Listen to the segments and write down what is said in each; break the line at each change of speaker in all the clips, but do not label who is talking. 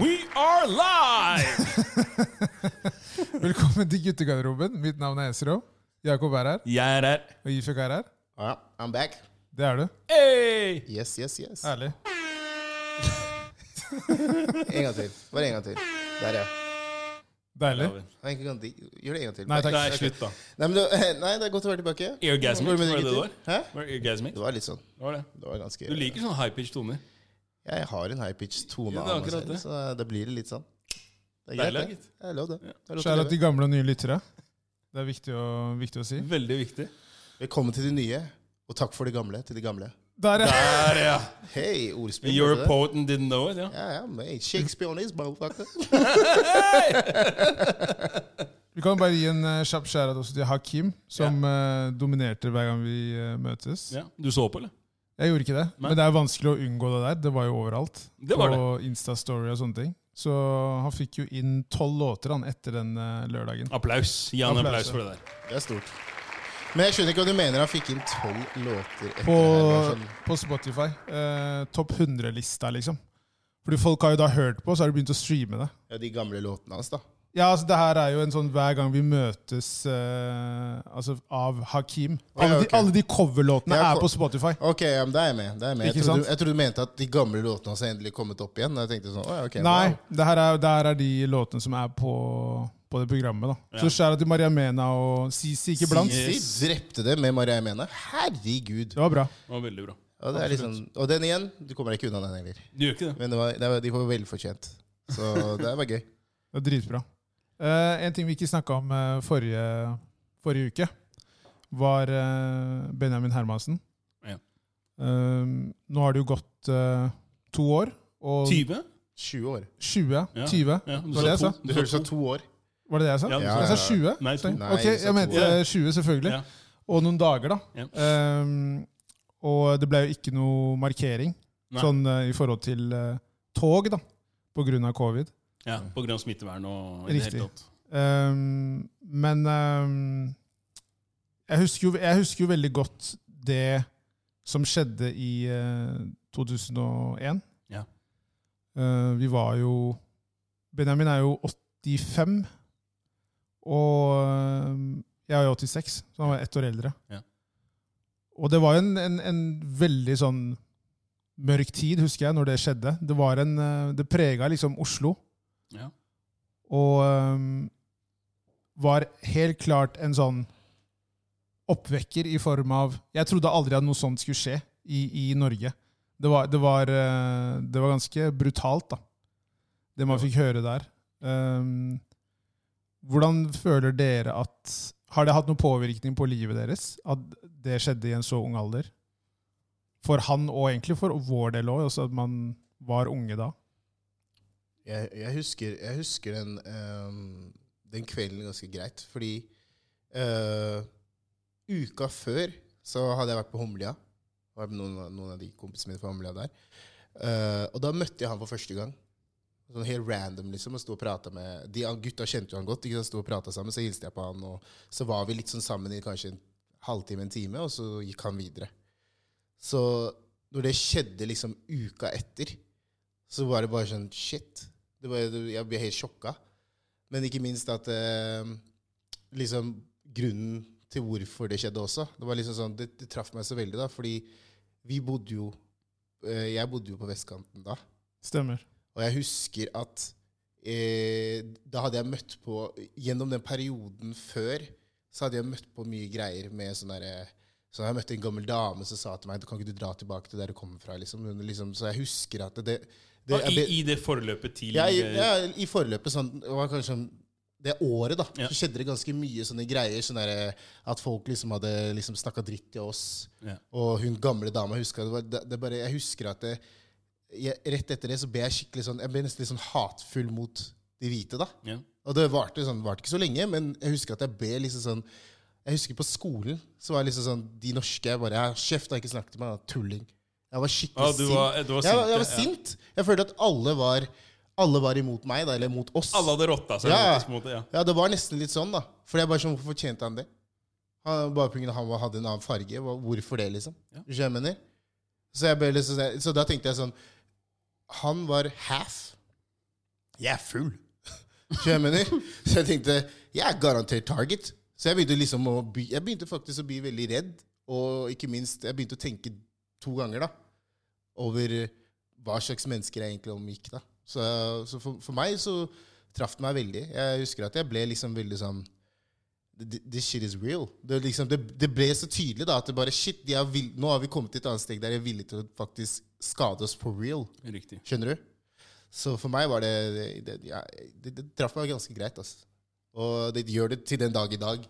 We are live!
Velkommen til guttegarderoben. Mitt navn er Esro. Jakob er her.
Jeg er her.
Og Yishak er her.
Ja, I'm back.
Det er du.
Hey!
Yes, yes, yes.
Ærlig.
En gang til. Bare en gang til. Der, ja.
Deilig.
Nei, ikke en gang til. Gjør det en gang til.
Nei, takk.
Nei,
Ok.
slutt, da.
Nei, men det, nei, det er godt å være tilbake.
Eargasmic,
Hvordan går
var
det med
det det
dere
var?
gutter? Hæ?
Var det Eargasmic?
Det var litt sånn.
Det var det.
Det var ganske...
Du liker sånne high-pitch toner.
Jeg har en high-pitched tone,
Ja, det er
av meg
akkurat
selv,
det.
sånn, så det blir litt sånn. Det er
Deilig,
greit,
gitt.
det. Det er lov, det. Det er lov til å
Kjære
leve.
til gamle og nye lyttere. Det er viktig å, viktig å si.
Veldig viktig.
Velkommen til de nye, og takk for de gamle til de gamle.
Der, ja!
Der, ja!
Hei, ordspill.
You're a
hørte du det?
poet and didn't know it, ja.
Ja, ja, mate. Shakespeare on his motherfucker.
Vi kan bare gi en eh, kjapp skjærat også til Hakim, som eh, dominerte hver gang vi eh, møtes.
ja. Du så på, eller?
Jeg gjorde ikke det,
Nei.
men det er vanskelig å unngå det der. Det var jo overalt.
Det var det.
på Insta-story og sånne ting. Så han fikk jo inn tolv låter han etter den eh, lørdagen.
Applaus. Gi han en
Applaus,
applaus for det der.
Det er stort. Men jeg skjønner ikke hva du mener han fikk inn tolv låter etter
På,
det her. Det var sånn-
på Spotify. Eh, topp 100-lista, liksom. Fordi folk har jo da hørt på, så har de begynt å streame det.
Ja, de gamle låtene hans, da.
Ja, altså det her er jo en sånn hver gang vi møtes eh, altså av Hakim. Alle
Ja,
de,
ok.
alle de coverlåtene
Ja,
er
co-
på Spotify.
Ok, ja, men da er jeg med. Da er jeg med.
Ikke
Jeg, trodde,
sant?
jeg trodde du mente at de gamle låtene hans endelig kommet opp igjen. og Jeg tenkte sånn, «Å, ja, ok,
Nei,
wow».
det her er, det her er de låtene som er på, på det programmet. da. Så skjæra til Maria Mena og Sisi, ikke blant.
Sisi
Yes.
drepte det med Maria Mene. Herregud.
Det var bra.
Det var veldig bra.
Og, det er liksom, og den igjen, du kommer deg ikke unna den heller.
Du gjør ikke det.
Men det var, det var, de var velfortjent. Så det var gøy.
Det er dritbra. Eh, en ting vi ikke snakka om eh, forrige, forrige uke, var eh, Benjamin Hermansen.
Ja.
Eh, nå har det jo gått eh, to år. Og
20?
20 år.
20?
Ja.
20?
Ja, du
Var det jeg
sa
sa?
to.
Du hørtes ut som to år.
Var det det jeg sa?
Ja, du
Ja,
sa
Jeg
det.
sa 20.
Nei, to.
Nei,
ok,
du sa
jeg mente
to.
eh, 20, selvfølgelig.
Ja.
Og noen dager, da.
Ja.
Eh, og det ble jo ikke noe markering
Nei.
sånn eh, i forhold til eh, tog, da, på grunn av covid.
Ja, på grunn av smittevern og i det
Riktig.
hele tatt.
Um, men um, jeg, husker jo, jeg husker jo veldig godt det som skjedde i eh, 2001.
Ja.
Eh, vi var jo Benjamin er jo 85, og eh, jeg er jo 86, så han var ett år eldre.
Ja.
Og det var jo en, en, en veldig sånn mørk tid, husker jeg, når det skjedde. Det, var en, eh, det prega liksom Oslo
Ja.
og ehm, øhm, var helt klart en sånn oppvekker i form av Jeg trodde aldri at noe sånt skulle skje i, i Norge. Det var, det, var, øh, det var ganske brutalt, da, det man fikk høre der. Øhm, hvordan føler dere at Har det hatt noen påvirkning på livet deres at det skjedde i en så ung alder? For han, og egentlig for vår del òg, at man var unge da.
Jeg, jeg, husker, jeg husker den, ehm, den kvelden ganske greit, fordi eh, uka før så hadde jeg vært på Homlia. Jeg var med Noen, noen av de kompisene mine fra Homlia der. Eh, og da møtte jeg han for første gang. Sånn helt random, liksom. Og sto og pratet med De gutta kjente jo han godt. Ikke sant? Sto og pratet sammen, så hilste jeg på han, og så var vi litt sånn sammen i kanskje en halvtime, en time, og så gikk han videre. Så når det skjedde liksom uka etter, så var det bare sånn Shit. Det var, det- jeg ble helt sjokka. Men ikke minst at eh, liksom grunnen til hvorfor det skjedde også. Det var liksom sånn, det, det traff meg så veldig, da, fordi vi bodde jo eh, Jeg bodde jo på vestkanten da.
Stemmer.
Og jeg husker at eh, da hadde jeg møtt på Gjennom den perioden før så hadde jeg møtt på mye greier med sånn derre så jeg møtte en gammel dame som sa til meg Kan ikke du dra tilbake til der du kommer fra? Liksom. Hun liksom så jeg husker at det, det
Og
jeg
I,
ble-
I det forløpet til
ja, i,
eh,
ja, i forløpet sånn, det var kanskje sånn- det året da,
Ja.
så skjedde det ganske mye sånne greier, sånn der, at folk liksom hadde liksom snakket dritt til oss,
Ja.
og hun gamle dama, jeg husker, det var, det, det bare, jeg husker at det, jeg, rett etter det så ble jeg skikkelig sånn, jeg ble nesten litt sånn hatfull mot de hvite da.
ja.
Og det varte, sånn, varte ikke så lenge, men jeg husker at jeg ble liksom sånn, jeg husker på skolen, så var jeg liksom sånn, de norske, jeg bare, jeg kjeft har ikke snakket til meg, da, tulling. Jeg var skikkelig
Ah, du
sint.
var, du var
Jeg var, jeg var
sint. ja.
sint. Jeg følte at alle var, alle var imot meg, da, eller mot oss.
Alle hadde rotta seg.
Ja.
faktisk, på en måte, ja.
Ja, Det var nesten litt sånn, da. For jeg bare sånn, Hvorfor fortjente han det? Han, bare pga. han var- hadde en annen farge. Hva- Hvorfor det, liksom?
Ja.
Skjønner du hva jeg mener? Så, jeg ble liksom, så da tenkte jeg sånn Han var sånn, half Jeg er full. Så jeg mener, så jeg tenkte jeg er garantert target. Så jeg begynte, liksom å bli, jeg begynte faktisk å bli veldig redd, og ikke minst, jeg begynte å tenke to ganger da, over eh, hva slags mennesker jeg egentlig omgikk. da. Så, så for, for meg så traff det meg veldig. Jeg husker at jeg ble liksom veldig sånn Th- This shit is real. Det, liksom, det, det ble så tydelig da, at det bare shit, jeg er vill- nå har vi kommet til et annet steg der jeg er villig til å faktisk skade oss for real.
Riktig.
Skjønner du? Så for meg var det Det, det, ja, det, det traff meg ganske greit. ass. Og det gjør det til den dag i dag.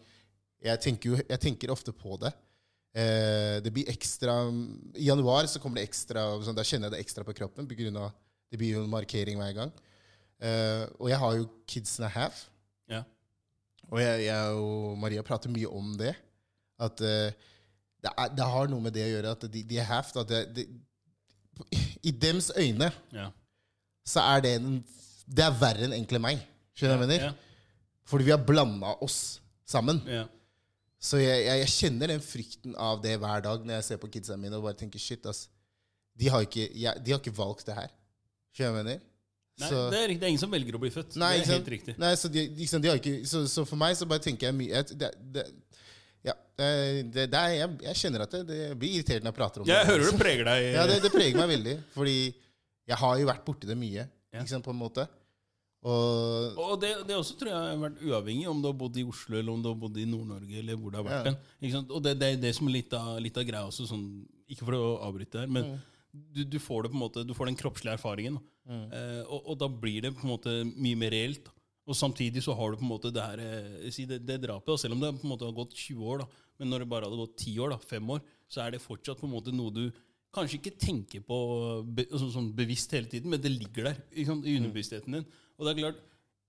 Jeg tenker, jo, jeg tenker ofte på det. Eh, det blir ekstra I januar så kommer det ekstra sånn, Da kjenner jeg det ekstra på kroppen. På grunn av, det blir jo en markering hver gang. Eh, og jeg har jo kids and a half.
Ja.
Og jeg, jeg og Maria prater mye om det. At eh, det, er, det har noe med det å gjøre at de, de er half. da. det, det, I dems øyne
Ja.
så er det en, Det er verre enn enkle meg. Skjønner du hva jeg
Ja.
mener? Fordi vi har blanda oss sammen.
ja.
Så jeg, jeg, jeg kjenner den frykten av det hver dag når jeg ser på kidsa mine og bare tenker shit, ass. De har ikke, jeg, de har ikke valgt det her. Skjønner du hva jeg mener?
Nei,
Så-
det, er riktig. det er ingen som velger å bli født.
Nei,
det
ikke
er
sant?
helt riktig.
Nei, så, de, ikke sant, de har ikke, så, så for meg så bare tenker jeg mye jeg, det, det, Ja, eh, det, det er, jeg, jeg kjenner at det, det blir irritert når jeg prater om det.
Jeg hører det preger deg.
Ja, det, det preger meg veldig. Fordi jeg har jo vært borti det mye,
Ja.
ikke sant, på en måte. Og
Og det, det også tror jeg har vært uavhengig om du har bodd i Oslo eller om du har bodd i Nord-Norge. eller hvor det har vært
Ja.
hen. Ikke sant? Og det, det er det som er litt av, litt av greia også, sånn, ikke for å avbryte her, men du, du får det på en måte, du får den kroppslige erfaringen. da. Eh, og, og da blir det på en måte mye mer reelt. da. Og samtidig så har du på en måte det her, eh, si det, det drapet, da, selv om det på en måte har gått 20 år, da, men når det bare hadde gått 10 år, da, 5 år, så er det fortsatt på en måte noe du kanskje ikke tenker på be, sånn, sånn bevisst hele tiden, men det ligger der ikke sant, i underbevisstheten din. Og det er klart,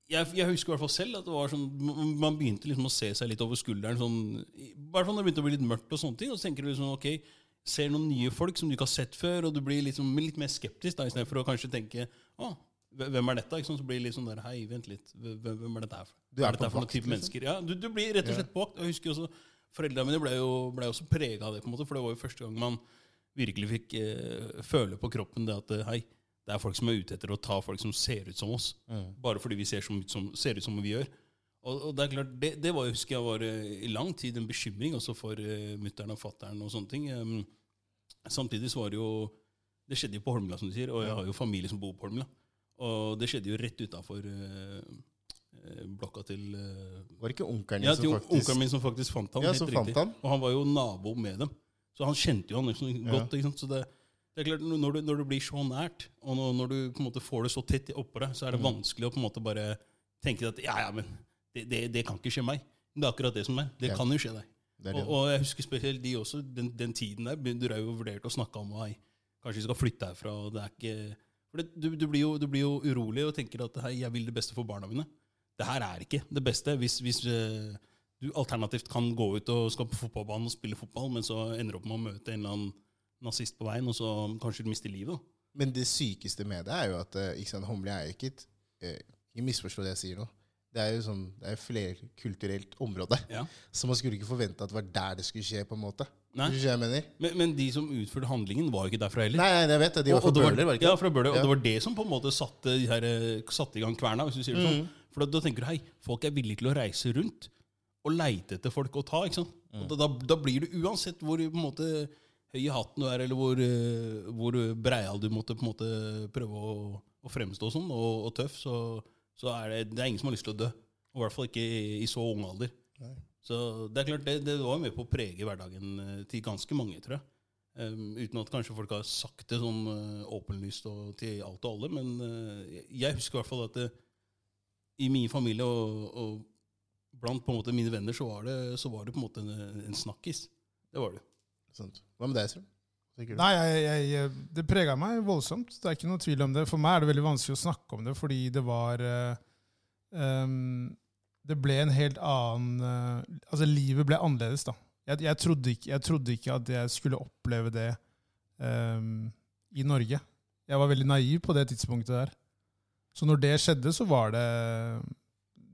jeg, jeg husker i hvert fall selv at det var sånn, man- man begynte liksom å se seg litt over skulderen. Sånn, I hvert fall når det begynte å bli litt mørkt, og sånne ting, og så tenker du liksom, ok, ser noen nye folk som du ikke har sett før, og du blir liksom litt mer skeptisk da, istedenfor å kanskje tenke å, hvem er dette? Ikke sant? Så blir det litt sånn der, hei, vent litt, hvem, hvem er dette her for?
Du er
Hva dette
på
for noen
vakt,
type
liksom.
mennesker? Ja, du, du blir rett og slett på vakt. og Jeg husker også, Foreldrene mine ble jo, ble jo også prega av det, på en måte, for det var jo første gang man virkelig fikk eh, føle på kroppen det at eh, hei, det er folk som er ute etter å ta folk som ser ut som oss. Bare fordi vi ser, som, som, ser ut som vi gjør. Og, og Det er klart, det, det var, husker jeg var eh, i lang tid en bekymring også for uh, mutter'n og fatter'n. Og sånne ting. Em, samtidig så var det jo Det skjedde jo på Holmlia, som du sier, og jeg har jo familie som bor på Holmlia. Og det skjedde jo rett utafor blokka til eh,
var det ikke onkelen din
ja, til
som faktisk
onkelen min som faktisk fant han.
Ja,
helt
som
riktig.
fant han.
Og han var jo nabo med dem. Så han kjente jo han liksom godt. ikke sant? Så det, det er klart, når du, når du blir så nært, og når, når du på en måte får det så tett oppå deg, så er det
Mm.
vanskelig å på en måte bare tenke at ja, ja, men det, det, det kan ikke skje meg. Men Det er akkurat det som er. Det
Ja.
kan jo skje deg.
Det er
Og,
det.
og jeg husker spesielt de også, den, den tiden der. Du har jo vurdert å snakke om hei, kanskje vi skal flytte herfra. og det er ikke... For det, du, du, blir jo, du blir jo urolig og tenker at hei, jeg vil det beste for barna mine. Det her er ikke det beste. Hvis, hvis eh, du alternativt kan gå ut og skal på fotballbanen og spille fotball, men så ender du opp med å møte en eller annen nazist på veien, og så kanskje du mister livet. da.
Men det sykeste med det er jo at eh, ikke sant, Homli er jo ikke et eh, Ikke misforstå det jeg sier nå. Det er jo sånn, det er jo flerkulturelt område.
Ja.
Så man skulle ikke forvente at det var der det skulle skje, på en måte.
Nei.
Skjønner du hva jeg mener?
Men, men de som utførte handlingen, var jo ikke derfra heller.
Nei, nei, jeg vet det. De var
Og- og
fra
det
Bøhler, var det ikke?
Ja, fra Bøhler. Og
Ja.
det var det som på en måte satte, de her, eh, satte i gang kverna, hvis du sier det
Mm.
sånn. For da, da tenker du hei, folk er villige til å reise rundt og leite etter folk å ta. ikke sant?
Mm.
Og da, da, da blir du uansett hvor på en måte høy i hatten du er, eller hvor, eh, hvor breial du måtte på en måte prøve å, å fremstå som, og, og tøff, så, så er det, det er ingen som har lyst til å dø. Og i hvert fall ikke i, i så ung alder. Så det er klart, det, det var jo med på å prege hverdagen eh, til ganske mange, tror jeg. Um, uten at kanskje folk har sagt det sånn eh, åpenlyst og til alt og alle, men eh, jeg- jeg husker i hvert fall at det, i min familie og, og blant på en måte mine venner, så var det, så var det på en måte en, en snakkis. Det var det.
Sånt. Hva med deg, Strøm? Tenker du?
Nei, jeg, jeg, jeg, det prega meg voldsomt. Det er ikke noe tvil om det. For meg er det veldig vanskelig å snakke om det, fordi det var eh, ehm, Det ble en helt annen eh, Altså, livet ble annerledes, da. Jeg, jeg, trodde ikke, jeg trodde ikke at jeg skulle oppleve det ehm, i Norge. Jeg var veldig naiv på det tidspunktet der. Så når det skjedde, så var det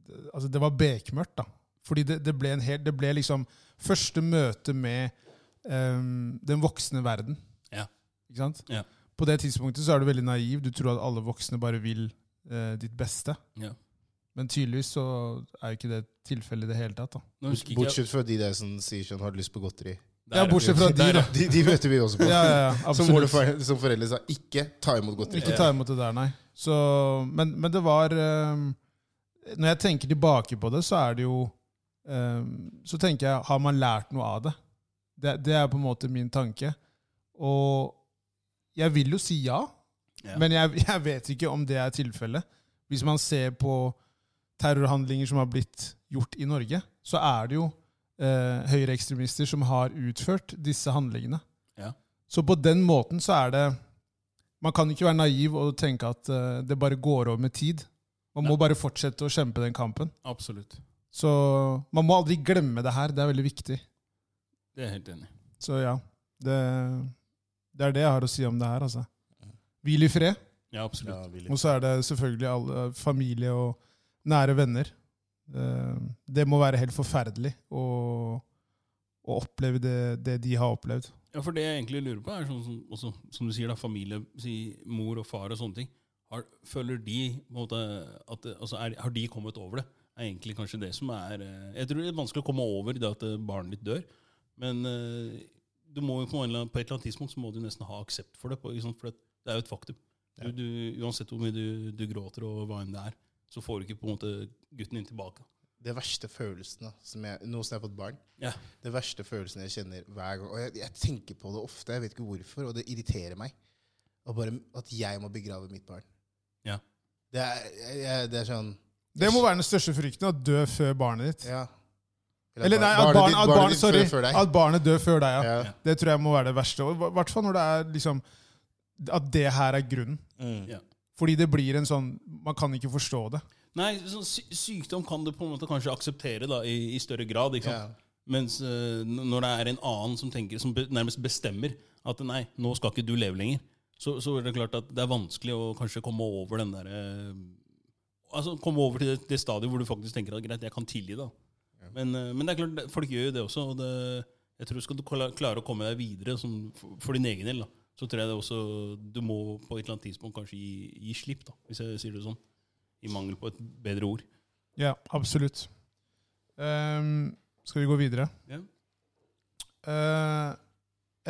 det- Altså, det var bekmørkt, da. Fordi det, det ble en helt Det ble liksom første møte med ehm, den voksne verden.
Ja.
Ikke sant?
Ja.
På det tidspunktet så er du veldig naiv. Du tror at alle voksne bare vil eh, ditt beste.
Ja.
Men tydeligvis så er jo ikke det tilfellet i det hele tatt. da.
Nå husker ikke jeg-
Bortsett fra de der som sier sånn 'har du lyst på godteri'?
Der
Ja,
er
bortsett fra
vi.
de,
Der er
da.
vi.
De, de møter vi også på.
Ja, ja, ja,
som, våre
absolutt.
fore- som foreldre sa, ikke ta imot godteri.
Ikke ta imot det der, nei. Så, men, men det var ehm, Når jeg tenker tilbake på det, så er det jo ehm, Så tenker jeg, har man lært noe av det? Det, det er på en måte min tanke. Og jeg vil jo si ja,
Ja.
men jeg, jeg vet ikke om det er tilfellet. Hvis man ser på terrorhandlinger som har blitt gjort i Norge, så er det jo eh, høyreekstremister som har utført disse handlingene.
Ja.
Så på den måten så er det Man kan ikke være naiv og tenke at eh, det bare går over med tid. Man må bare fortsette å kjempe den kampen.
Absolutt.
Så man må aldri glemme det her. Det er veldig viktig.
Det er jeg helt enig i.
Så ja, det, det er det jeg har å si om det her, altså. Hvil i fred.
Ja, absolutt.
Ja, Willy.
Og så er det selvfølgelig alle, familie og nære venner. Eh, Det må være helt forferdelig å, å oppleve det, det de har opplevd.
Ja, for det jeg egentlig lurer på, er sånn som, også, som du sier, da, familie, si, mor og far og sånne ting. Har, føler de på en måte, at det- altså, er, Har de kommet over det? Er egentlig kanskje det som er eh, Jeg tror det er vanskelig å komme over det at eh, barnet ditt dør. Men eh, du må jo på, en eller annen, på et eller annet tidspunkt så må du nesten ha aksept for det. På, ikke sant? for det, det er jo et faktum. Du,
Ja.
du, uansett hvor mye du, du gråter og hva enn det er, så får du ikke på en måte gutten din tilbake.
Det verste følelsen da, som jeg, nå som jeg har fått barn
Ja.
Det verste følelsen jeg kjenner hver gang Og jeg, jeg tenker på det ofte, jeg vet ikke hvorfor, og det irriterer meg. Og bare At jeg må begrave mitt barn.
Ja.
Det er, jeg, jeg- det er sånn
Det må være den største frykten, å dø før barnet ditt.
Ja.
Eller nei, at barnet,
barnet ditt-
at
barnet
barnet,
ditt
sorry,
før- før deg.
at barnet dør før deg, ja.
ja.
Det tror jeg må være det verste. Og I hvert fall når det er liksom At det her er grunnen.
Mm.
Ja.
Fordi det blir en sånn Man kan ikke forstå det.
Nei, sånn sy sykdom kan du på en måte kanskje akseptere da, i, i større grad. ikke sant?
Ja.
Mens eh, n- når det er en annen som, tenker, som be nærmest bestemmer at nei, nå skal ikke du leve lenger, så, så er det klart at det er vanskelig å kanskje komme over den der, eh, altså komme over til det, det stadiet hvor du faktisk tenker at greit, jeg kan tilgi det. da. Men, eh, men det er klart, det- folk gjør jo det også. og det, jeg tror Skal du kla- klare å komme deg videre som, for, for din egen del, da, så tror jeg det også, du må på et eller annet tidspunkt kanskje gi, gi slipp, da, hvis jeg sier det sånn. I mangel på et bedre ord.
Ja, absolutt. Ehm, skal vi gå videre?
Ja.
Eh,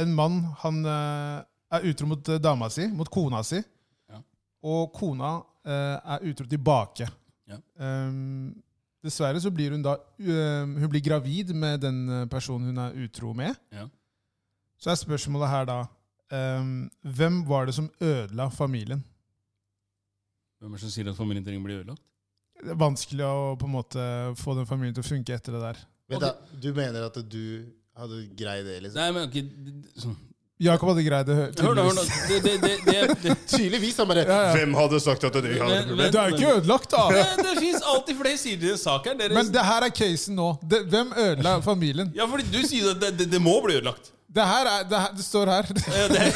en mann han eh, er utro mot eh, dama si, mot kona si.
Ja.
Og kona eh, er utro tilbake.
Ja.
Ehm, dessverre så blir hun da eh, Hun blir gravid med den eh, personen hun er utro med.
Ja.
Så er spørsmålet her da ehm, Hvem var det som ødela familien?
Hvem er det som sier at familien trenger å bli ødelagt?
Det er vanskelig å på en måte få den familien til å funke etter det der.
Vent da, du mener at du hadde greid det, liksom?
Nei, men ok, d- d- sånn.
Jakob hadde greid det. hø-
Hør nå, hør nå.
tydeligvis.
Det, det, det, det, det.
Tydeligvis! Han bare
Ja, ja.
Hvem hadde sagt at det
Men- men-
Du er jo ikke ødelagt, da!
Det, det fins alltid flere sider i en sak her. Dere,
Men det her er casen nå. Det, hvem ødela familien?
ja, fordi du sier at det, det, det må bli ødelagt.
Det her er, det, her, det står her.
Ja, det,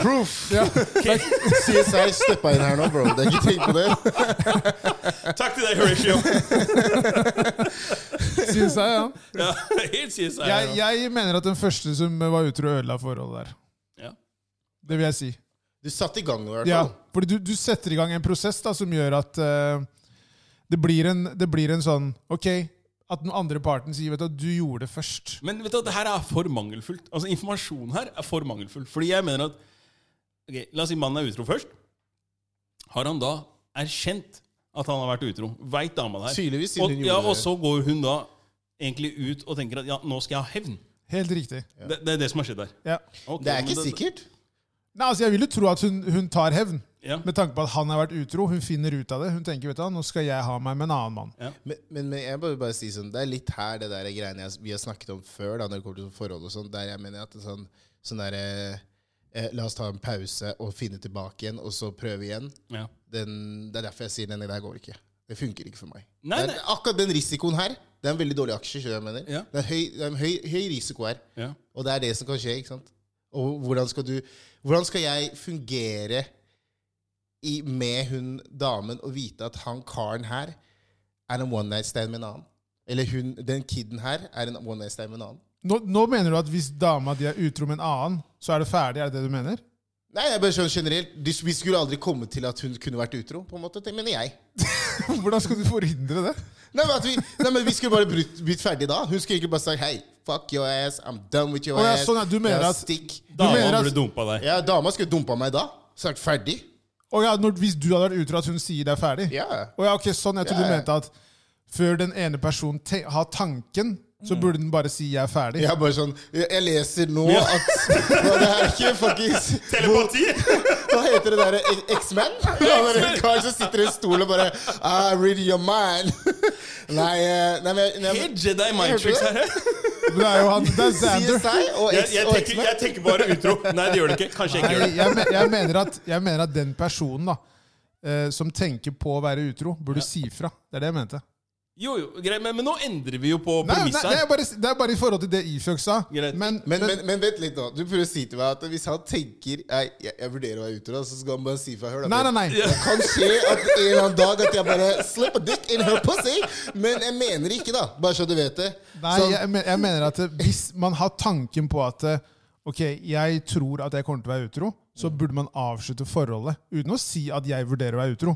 Proof!
Ja.
CSI steppa inn her nå, bro. Det er ikke tenkt på det.
takk til deg, Horatio.
Synes jeg, ja.
Ja, helt sies her.
jeg, jeg mener at den første som var utro, ødela forholdet der.
Ja.
Det vil jeg si.
Du satte i gang noe, i hvert
Ja,
fall.
fordi du, du setter i gang en prosess da, som gjør at eh, det, blir en, det blir en sånn Ok, at den andre parten sier vet du, at du gjorde det først.
Men vet du, hva, det her er for mangelfullt. Altså, Informasjonen her er for mangelfull. Fordi jeg mener at ok, La oss si mannen er utro først. Har han da erkjent at han har vært utro? Veit dama det her?
Tydeligvis, siden
Og,
hun
ja,
gjorde
og
det.
så går hun da egentlig ut og tenker at ja, nå skal jeg ha hevn.
Helt riktig.
Det, det er det som har skjedd der.
Ja.
Ok,
Det er
men
ikke sikkert.
Nei, altså, jeg vil jo tro at hun, hun tar hevn,
Ja.
med tanke på at han har vært utro. Hun finner ut av det. Hun tenker vet du, hva, nå skal jeg ha meg med en annen mann.
Men, men, men jeg bare, bare si sånn, det er litt her det der greiene jeg, vi har snakket om før, da, når det kommer til forhold og sånn, der jeg mener at det er sånn, sånn der, eh, eh, La oss ta en pause og finne tilbake igjen, og så prøve igjen.
Ja.
Den, det er derfor jeg sier den der går ikke. Det funker ikke for meg.
Nei,
det er, Akkurat den risikoen her, det er en veldig dårlig aksje. skjønner du hva jeg mener.
Ja.
Det er, høy, det er en høy, høy risiko her,
Ja.
og det er det som kan skje. ikke sant? Og hvordan skal, du, hvordan skal jeg fungere i, med hun damen og vite at han karen her er en one night stand med en annen? Eller hun, den kiden her er en one night stand med en annen?
Nå, nå mener du at hvis dama di er utro med en annen, så er det ferdig? Er det det du mener?
Nei, jeg bare skjønner generelt. De- Vi skulle aldri komme til at hun kunne vært utro, på en måte, det mener jeg.
Hvordan skal du forhindre det?
Nei, men, at vi, nei, men vi skulle bare brutt- blitt ferdig da. Hun skulle egentlig bare sagt hei, fuck your ass, I'm done with your
Å, ja,
ass.
sånn, ja, du mener
Ja,
at-
Stikk.
mener
Dama
at-
burde dumpa deg.
Ja, dama skulle dumpa meg da. Sagt ferdig.
Å ja, når, hvis du hadde vært utro at hun sier det er ferdig?
Ja.
Å ja, ok, sånn. Jeg trodde
Ja,
du
ja.
mente at før den ene personen te har tanken, så
Mm.
burde den bare si 'jeg er ferdig'.
Jeg er bare sånn Jeg jeg leser nå
Ja.
at Hva, Det er ikke fuckings
Telepati!
Hva heter det E- derre X-Man? En kar som sitter i en stol og bare I read your mind. Nei, eh, nei, men, nei, men
Helt Jedi mind
Hørte du
tricks
det?
her. hæ?
Det er jo han, det er Xander.
CSI og
Jeg,
X-
jeg,
og
tenker,
X-Man.
jeg tenker bare utro. Nei, det gjør det ikke. Kanskje jeg ikke gjør
Nei,
det.
jeg, me- jeg, mener at, jeg mener at den personen da, eh, som tenker på å være utro, burde si fra. Det er det jeg mente.
Jo, jo, greit, men, men nå endrer vi jo på
Nei, nei,
premisset
det, er
her.
bare, det er bare i forhold til det Ifjok sa.
Greit.
Men,
Men, men, men vent litt nå. Du prøver å si til meg at hvis han tenker Nei, jeg, jeg vurderer å være utro, da», så skal han bare si fra. Hør, da.
nei, nei, nei.
Det kan skje at en eller annen dag at jeg bare slip a dick in her pussy. Men jeg mener ikke, da. Bare så du vet det.
nei
Sånn,
jeg, men- jeg mener at eh, hvis man har tanken på at eh, ok, jeg tror at jeg kommer til å være utro,
Mm.
så burde man avslutte forholdet uten å si at jeg vurderer å være utro.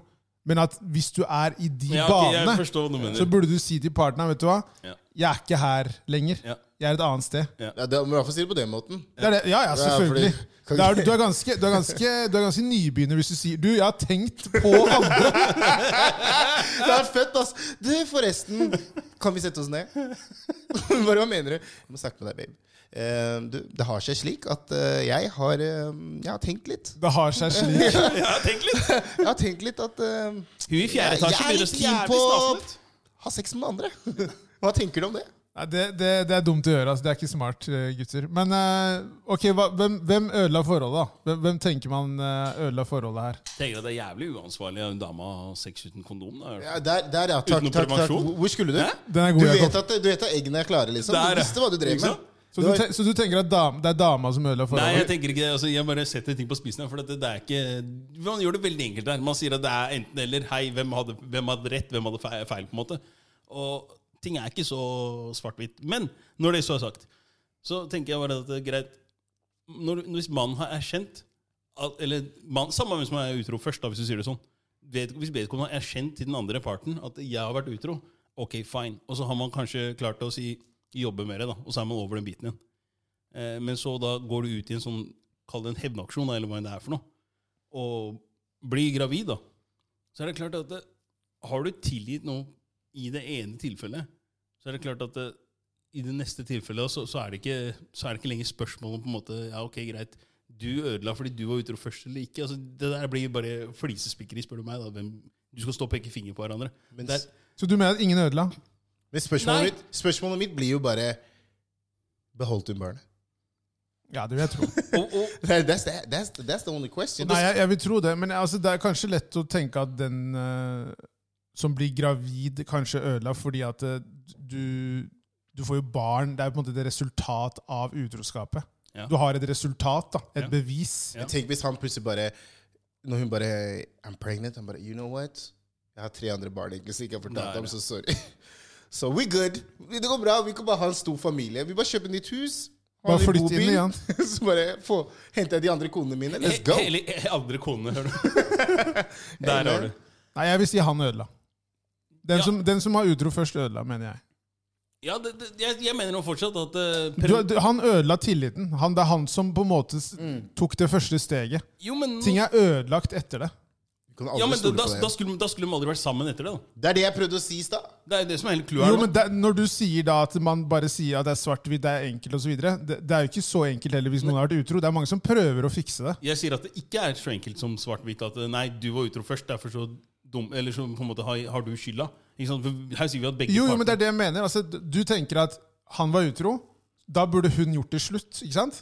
Men at hvis du er i de
Ja, ok, jeg
banene,
forstår hva du
så
mener.
burde du si til partneren vet du hva,
Ja.
jeg er ikke her lenger.
Ja.
Jeg er et annet sted.
ja, det, men i hvert fall si det på den måten.
Det er det. Ja, ja,
fordi-
selvfølgelig.
Kan
Da er, du
ikke-
du er ganske, du er ganske, du er ganske nybegynner hvis du sier Du, jeg har tenkt på andre.
Det er fett, ass. Du, forresten. Kan vi sette oss ned? Bare hva mener du? Jeg må snakke med deg, babe. Eh, du, det har seg slik at eh, jeg har eh, Jeg har tenkt litt.
Det har seg slik.
Ja, tenk litt.
Jeg har tenkt litt at eh,
Hun i fjerde
Jeg- jeg
etasje
er
begynner å
litt
stige
jævlig
på
snasen.
snasen.
ha sex med den andre. Hva tenker du om det?
Nei, det, det, det er dumt å gjøre. Altså. Det er ikke smart, eh, gutter. Men eh, ok, hva, hvem, hvem ødela forholdet, da? Hvem, hvem tenker man eh, ødela forholdet her?
Tenker at det er jævlig uansvarlig av en dame å ha sex uten kondom. Da.
Ja, der, der, ja. Takk,
Uten
takk, takk.
prevensjon?
Hvor skulle du?
Hæ?
Den er
Du
god,
vet,
Jakob.
at, du vet at eggene er klare, liksom?
Der,
Du
ja.
visste hva du drev
Ikke
med?
sant?
Så du, te, så du tenker at dam, det er dama som
Nei,
ødela
jeg
forholdet?
tenker ikke det. Altså, jeg bare setter ting på spissen. her, For det, det er ikke Man gjør det veldig enkelt her. Man sier at det er enten eller. Hei, hvem hadde, hvem hadde rett, hvem hadde fe- feil? på en måte Og ting er ikke så svart-hvitt. Men når det så er sagt, så tenker jeg bare at det er greit når, Hvis mannen har erkjent at, Eller mann, samme hvem som er utro først, da, hvis du sier det sånn. Vet, hvis vedkommende har erkjent til den andre parten at 'jeg har vært utro', ok, fine. Og så har man kanskje klart å si 'jobbe med det', da. Og så er man over den biten igjen. Eh, Men så da går du ut i en sånn Kall det en hevnaksjon, da, eller hva enn det er for noe. Og blir gravid, da. Så er det klart at det, har du tilgitt noe i det ene tilfellet, så er det klart at det, i det neste tilfellet så, så, er det ikke, så er det ikke lenger spørsmål om på en måte Ja, ok, greit. Du ødela fordi du var utro først eller ikke. Altså, det der blir bare flisespikkeri, spør du meg. da. Hvem, du skal stå og peke finger på hverandre.
Men
Det er-
Så du mener at ingen ødela?
Men spørsmålet
Nei.
mitt, spørsmålet mitt blir jo bare Beholdt hun barnet?
Ja, det vil jeg tro.
og, og,
That's, the- that's, the- that's the only question.
Nei, jeg, jeg vil tro det, men altså, det er kanskje lett å tenke at den eh, som blir gravid, kanskje ødela fordi at eh, du, du får jo barn. Det er på en måte et resultat av utroskapet.
Ja.
Du har et resultat, da, et
Ja.
bevis.
Ja.
Tenk hvis han plutselig bare Når hun bare I'm pregnant. Han bare You know what? Jeg har tre andre barn egentlig, som ikke har
Nei,
fortalt om,
ja.
så sorry. So we good. Det går bra. Vi kan bare ha en stor familie. Vi bare kjøper nytt hus. ha
Bare
en
flytt
god
inn
bil,
igjen.
Så bare få, henter jeg de andre konene mine. Let's go.
Hele, hele andre konene, hører du. Der har du.
Nei, jeg vil si han ødela. Den,
Ja.
som, den som har utro først, ødela, mener jeg.
Ja, det, det, jeg, jeg mener jo fortsatt at eh,
Du, du, han ødela tilliten. Han, det er han som på en måte s- tok det første steget.
Jo, men,
Ting er ødelagt etter det.
Du kan aldri
ja, men da,
stole
da,
på det.
da, skulle, da skulle de aldri vært sammen etter det. da
det er det jeg prøvde å si i stad.
Det er jo det som er hele clouet
Jo,
her.
men
nå.
det, Når du sier da at man bare sier at det er svart-hvitt, det er enkelt osv. Det, det er jo ikke så enkelt heller hvis noen har vært utro. Det er mange som prøver å fikse det.
Jeg sier at det ikke er så enkelt som svart-hvitt. At eh, nei, du var utro først, derfor så dum Eller så på en måte har, har du skylda. Ikke sant? For Her sier vi at begge
Jo, jo, men det er det jeg mener. Altså, d- du tenker at han var utro, da burde hun gjort det slutt. ikke sant?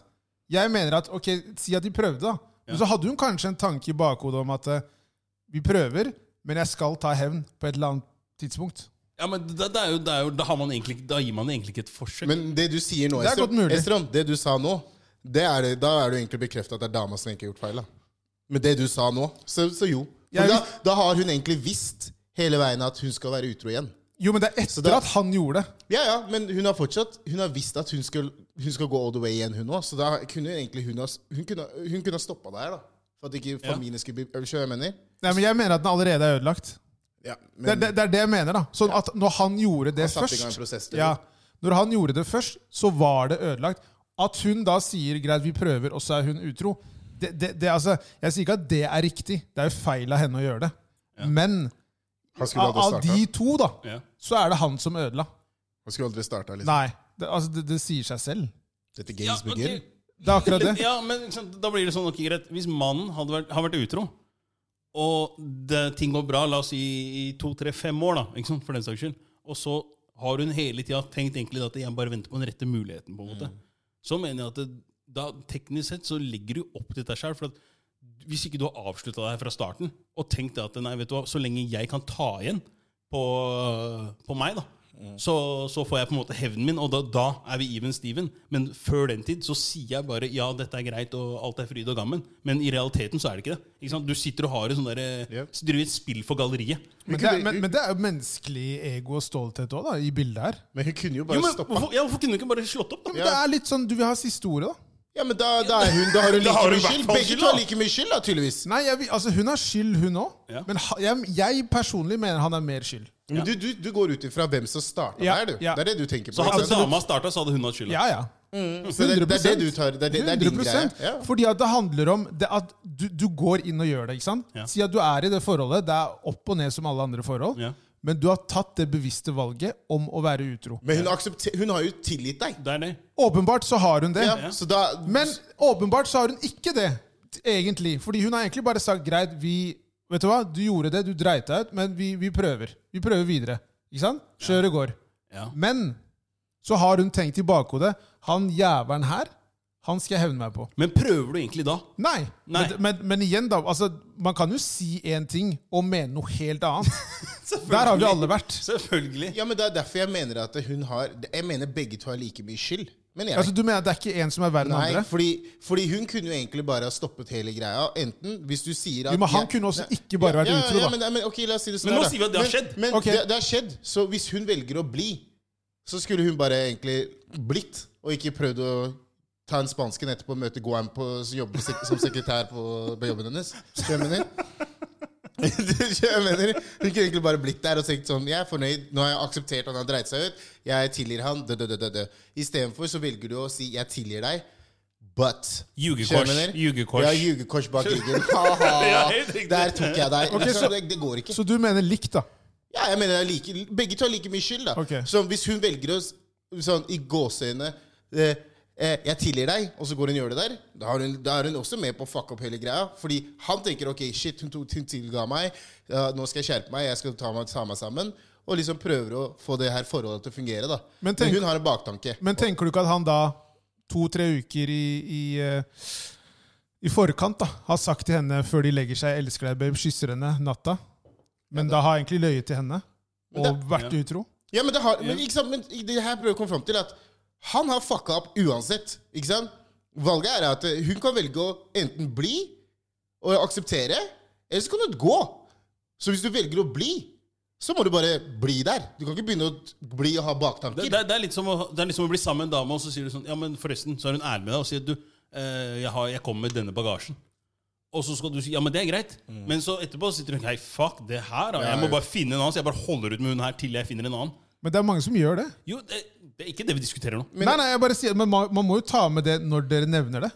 Jeg mener at ok, si at de prøvde, da. Men så hadde hun kanskje en tanke i bakhodet om at eh, vi prøver, men jeg skal ta hevn på et eller annet tidspunkt.
Ja, men det, det er jo, det er jo, da, har man egentlig, ikke- da gir man egentlig ikke et forsøk.
Men det du sier nå,
Det er godt
Estrom,
mulig.
Estrom, det du sa nå, det er, det- da er du egentlig bekrefta at det er dama som egentlig har gjort feil. da. Med det du sa nå, så, så jo. For
Jeg
da,
vis-
da har hun egentlig visst hele veien at hun skal være utro igjen.
Jo, men det er etter
det-
at han gjorde det.
Ja, ja, men hun har fortsatt Hun har visst at hun skal hun skal gå all the way igjen, hun òg. Så da kunne egentlig hun ha Hun kunne, hun kunne ha stoppa der, da. For at ikke
Ja.
familien skulle bli Skjønner du hva jeg mener?
Nei, men Jeg mener at den allerede er ødelagt.
Ja, men
Det, er- det, det er det jeg mener. da. Sånn at når han gjorde det
Han satte i gang en prosess,
først
det.
ja, Når han gjorde det først, så var det ødelagt. At hun da sier 'greit, vi prøver', og så er hun utro det, det, det, altså, Jeg sier ikke at det er riktig. Det er jo feil av henne å gjøre det. Men
han skulle
av,
aldri
av
starta.
de to, da,
Ja.
så er det han som ødela.
Han skulle aldri starta, liksom.
Nei. Det, altså, det, det sier seg selv.
Dette
Ja,
games
ok.
begin.
Det er akkurat det.
ja, men ikke sant, da blir det sånn ok, greit. Hvis mannen hadde vært, har vært utro, og det, ting går bra, la oss si i to, tre, fem år, da, ikke sant, for den saks skyld, og så har hun hele tida tenkt egentlig at jeg bare venter på den rette muligheten, på en måte, så mener jeg at det, da, teknisk sett så legger du opp til deg sjøl. For at hvis ikke du har avslutta deg fra starten, og tenkt det at nei, vet du hva, så lenge jeg kan ta igjen på, på meg, da, så, så får jeg på en måte hevnen min, og da, da er vi even steven. Men før den tid så sier jeg bare ja, dette er greit, og alt er fryd og gammen. Men i realiteten så er det ikke det. Ikke sant? Du sitter og har et sånn derre-
Yep.
så driver et spill for galleriet.
Men det, er, men, men det er jo menneskelig ego og stolthet òg, da, i bildet her.
Men hun kunne jo
Jo,
bare
men
stoppa.
hvorfor, ja, hvorfor kunne du ikke bare slått opp, da?
Men Det er litt sånn, Du vil ha siste ordet, da.
Ja, men da, da, er hun, da har hun
Da
like
har hun i
mye
hvert
skyld.
fall
Begge
skyld,
to har
da.
like mye skyld, da, tydeligvis.
Nei, jeg, vil- altså Hun har skyld, hun òg.
Ja.
Men ha- jeg, jeg personlig mener han har mer skyld.
Men du, du, du går ut ifra hvem som starta
Ja,
der, du.
ja.
Det er det du tenker på.
Så altså, hadde
ikke sant?
dama starta, så hadde hun hatt skylda.
Ja, ja.
Så det, det er det du tar. Det er, det, det er din greie.
100%.
Ja.
Fordi at det handler om det at du, du går inn og gjør det. ikke sant?
Ja.
Si at du er i det forholdet. Det er opp og ned som alle andre forhold.
Ja.
Men du har tatt det bevisste valget om å være utro.
Men hun, aksepter, hun har jo tilgitt deg.
Det er det.
Åpenbart så har hun det.
Ja, Så da
Men åpenbart så har hun ikke det, t- egentlig. Fordi hun har egentlig bare sagt greit, vi Vet du hva, du gjorde det, du dreit deg ut, men vi, vi prøver. Vi prøver videre. Ikke sant? Kjøret går.
Ja.
Men så har hun tenkt i bakhodet han jævelen her, han skal jeg hevne meg på.
Men prøver du egentlig da?
Nei.
Nei.
Men, men, men igjen, da. Altså, man kan jo si én ting og mene noe helt annet. Der har vi alle vært.
Selvfølgelig.
Ja, men Det er derfor jeg mener at hun har Jeg mener begge to har like mye skyld. Men jeg,
Altså, du mener at det er ikke én som er verre enn
nei,
andre?
fordi, fordi hun kunne jo egentlig bare ha stoppet hele greia. Enten hvis du sier at
Jo, men han
jeg-
kunne også
Nei,
ikke bare vært
ja, ja,
utro,
ja,
da.
men, nei, men, ok, la oss si det sånn
Men nå
da.
sier vi at det har
Men-
skjedd.
Men
Ok.
det, det har skjedd. Så hvis hun velger å bli, så skulle hun bare egentlig blitt, og ikke prøvd å ta en spansken etterpå og møte Guam på, som jobber sek- som sekretær på, på jobben hennes. Skjønner du? hva jeg mener? Skjønner du hva jeg mener? Hun kunne egentlig bare blitt der og tenkt sånn Jeg er fornøyd. Nå har jeg akseptert at han har dreit seg ut. Jeg tilgir han. dø, dø, dø, dø, dø. Istedenfor så velger du å si 'jeg tilgir deg', but
Ljugekors.
Skjønner du hva jeg mener?
Ljugekors.
Ja, ljugekors bak ryggen. Ha-ha.
Ja, helt riktig.
Der tok jeg deg.
Ok, så-
det, det går ikke.
Så du mener likt, da?
Ja, jeg mener det er like, Begge to har like mye skyld. da
Ok.
Så hvis hun velger å s- sånn, i gåseøyne eh, eh, 'Jeg tilgir deg', og så går hun og gjør det der, da er hun, da er hun også med på å fucke opp hele greia. Fordi han tenker 'ok, shit, hun, to- hun tilga meg, ja, nå skal jeg skjerpe meg, jeg skal ta meg, ta meg sammen'. Og liksom prøver å få det her forholdet til å fungere. da
Men
Men,
tenk-
hun har en baktanke.
Men tenker du ikke at han da, to-tre uker i, i, eh, i forkant, da, har sagt til henne før de legger seg 'elsker deg, babe', kysser henne natta? Men da har egentlig løyet til henne
Men
og vært utro?
Ja, men det, har, men, ikke sant, men det her prøver jeg å komme fram til at han har fucka opp uansett. Ikke sant? Valget er at eh, hun kan velge å enten bli og akseptere, eller så kan hun gå. Så hvis du velger å bli, så må du bare bli der. Du kan ikke begynne å t- bli og ha
Det,
baktanker.
det, det, er litt som å, det er litt som å bli sammen med en dame, og så sier du sånn Ja, men forresten, så er hun ærlig med deg og sier du, eh, jeg, har, jeg kommer med denne bagasjen. Og så skal du si ja, men det er greit.
Mm.
Men så etterpå sitter hun Hei, fuck det her. Da. Jeg må
ja.
bare finne en annen. Så jeg bare holder ut med hun her til jeg finner en annen.
Men det er mange som gjør det.
Jo, det, det er ikke det vi diskuterer nå.
nei, nei, jeg bare sier, men man, man må jo ta med det når dere nevner det.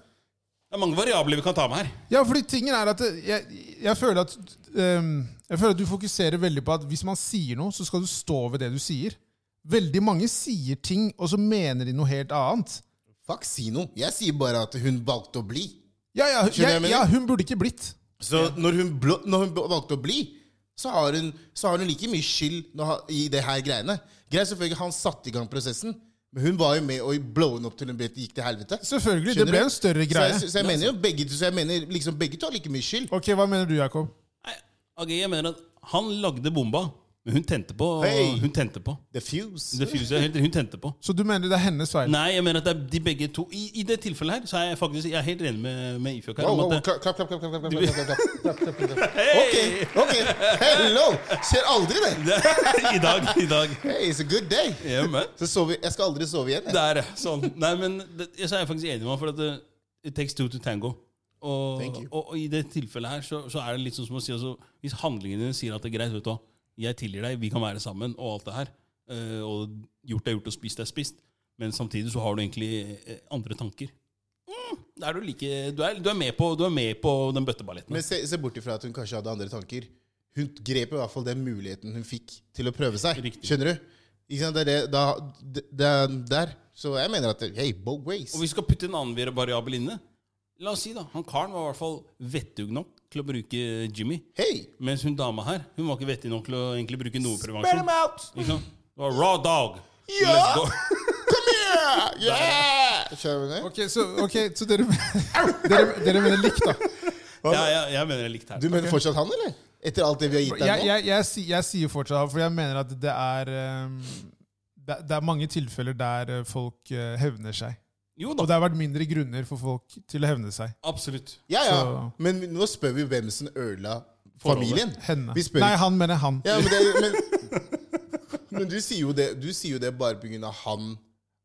Det er mange variabler vi kan ta med her.
Ja, fordi tingen er at det- jeg, jeg, føler at ehm, jeg føler at du fokuserer veldig på at hvis man sier noe, så skal du stå ved det du sier. Veldig mange sier ting, og så mener de noe helt annet.
Fuck, si noe. Jeg sier bare at hun valgte å bli.
Ja, ja,
Skjønner jeg
jeg,
mener?
ja hun burde ikke blitt.
Så når, hun blå, når hun b- valgte å bli, så har hun, så har hun like mye skyld når, ha- i det her greiene. Greit selvfølgelig, han satte i gang prosessen, men hun var jo med og blow henne opp til hun ble- gikk til helvete.
Selvfølgelig,
Skjønner
det ble
du?
en større
Så
greie.
jeg, så jeg mener jo begge, to- så jeg mener liksom begge to har like mye skyld.
Ok, Hva mener du, Jakob?
Nei, AG, jeg mener at han lagde bomba, Men hun tente på.
Hei!
Hun tente på.
The Fuse.
Det fysiske, helt- hun tente på.
Så du mener det er hennes feil?
Nei, jeg mener at det er de begge to I, i det tilfellet her så er jeg faktisk Jeg er helt enig med, med Ifjok her.
Wow,
om
wow,
at
wow.
det-
Klapp, klapp, klapp. klapp, klapp, klapp, klapp, klapp, klapp, klapp, klapp, klapp, klapp. Ok, ok. Hello! Skjer aldri, det.
I dag. I dag.
Hey, it's a good day.
Ja, men.
Så sover, jeg skal aldri sove igjen. Jeg.
Der, ja. sånn. Nei, men det, jeg- så er jeg faktisk enig med han, for at det, it takes two to tango. Og,
Thank you.
og, og i det tilfellet her så, så er det litt sånn som å si altså, Hvis handlingene dine sier at det er greit, vet du hva, jeg tilgir deg, vi kan være sammen, og alt det her, eh, og gjort er gjort, og spist er spist, men samtidig så har du egentlig eh, andre tanker. Mm, da er du, like, du, er, du, er med på, du er med på den bøtteballetten.
Men se, se bort ifra at hun kanskje hadde andre tanker. Hun grep i hvert fall den muligheten hun fikk til å prøve seg.
Riktig.
Skjønner du? Ikke sant? Det er det, da, det, det er der. Så jeg mener at hey, both ways.
Og vi skal putte en annen variabel inne. La oss si da, han karen var i hvert fall vettug nok til å bruke Jimmy.
Hey,
Mens hun dama her, hun var ikke vettig nok til å egentlig bruke noe
burn them
prevensjon.
out!
Ikke sant? Det var raw dog.
Ja!
Let's go.
Come here! ah, Yeah! Skjønner du?
Ok, så, ok, så dere, dere, dere mener likt, da?
Ja, ja, jeg mener det er likt her.
Du mener fortsatt han, eller? Etter alt det vi har gitt deg
Jeg,
nå?
jeg, jeg, si- jeg sier fortsatt for jeg mener at det er ehm, det, det er mange tilfeller der eh, folk eh, hevner seg.
Jo
Og
da,
det har vært mindre grunner for folk til å hevne seg.
absolutt.
Ja, ja.
Så-
Men vi- nå spør vi hvem som ødela
Forholdet.
familien.
Henne.
Vi spør
Nei,
ikke-
han mener han.
Ja, men, det, men, men du sier jo det, du sier jo det bare pga. han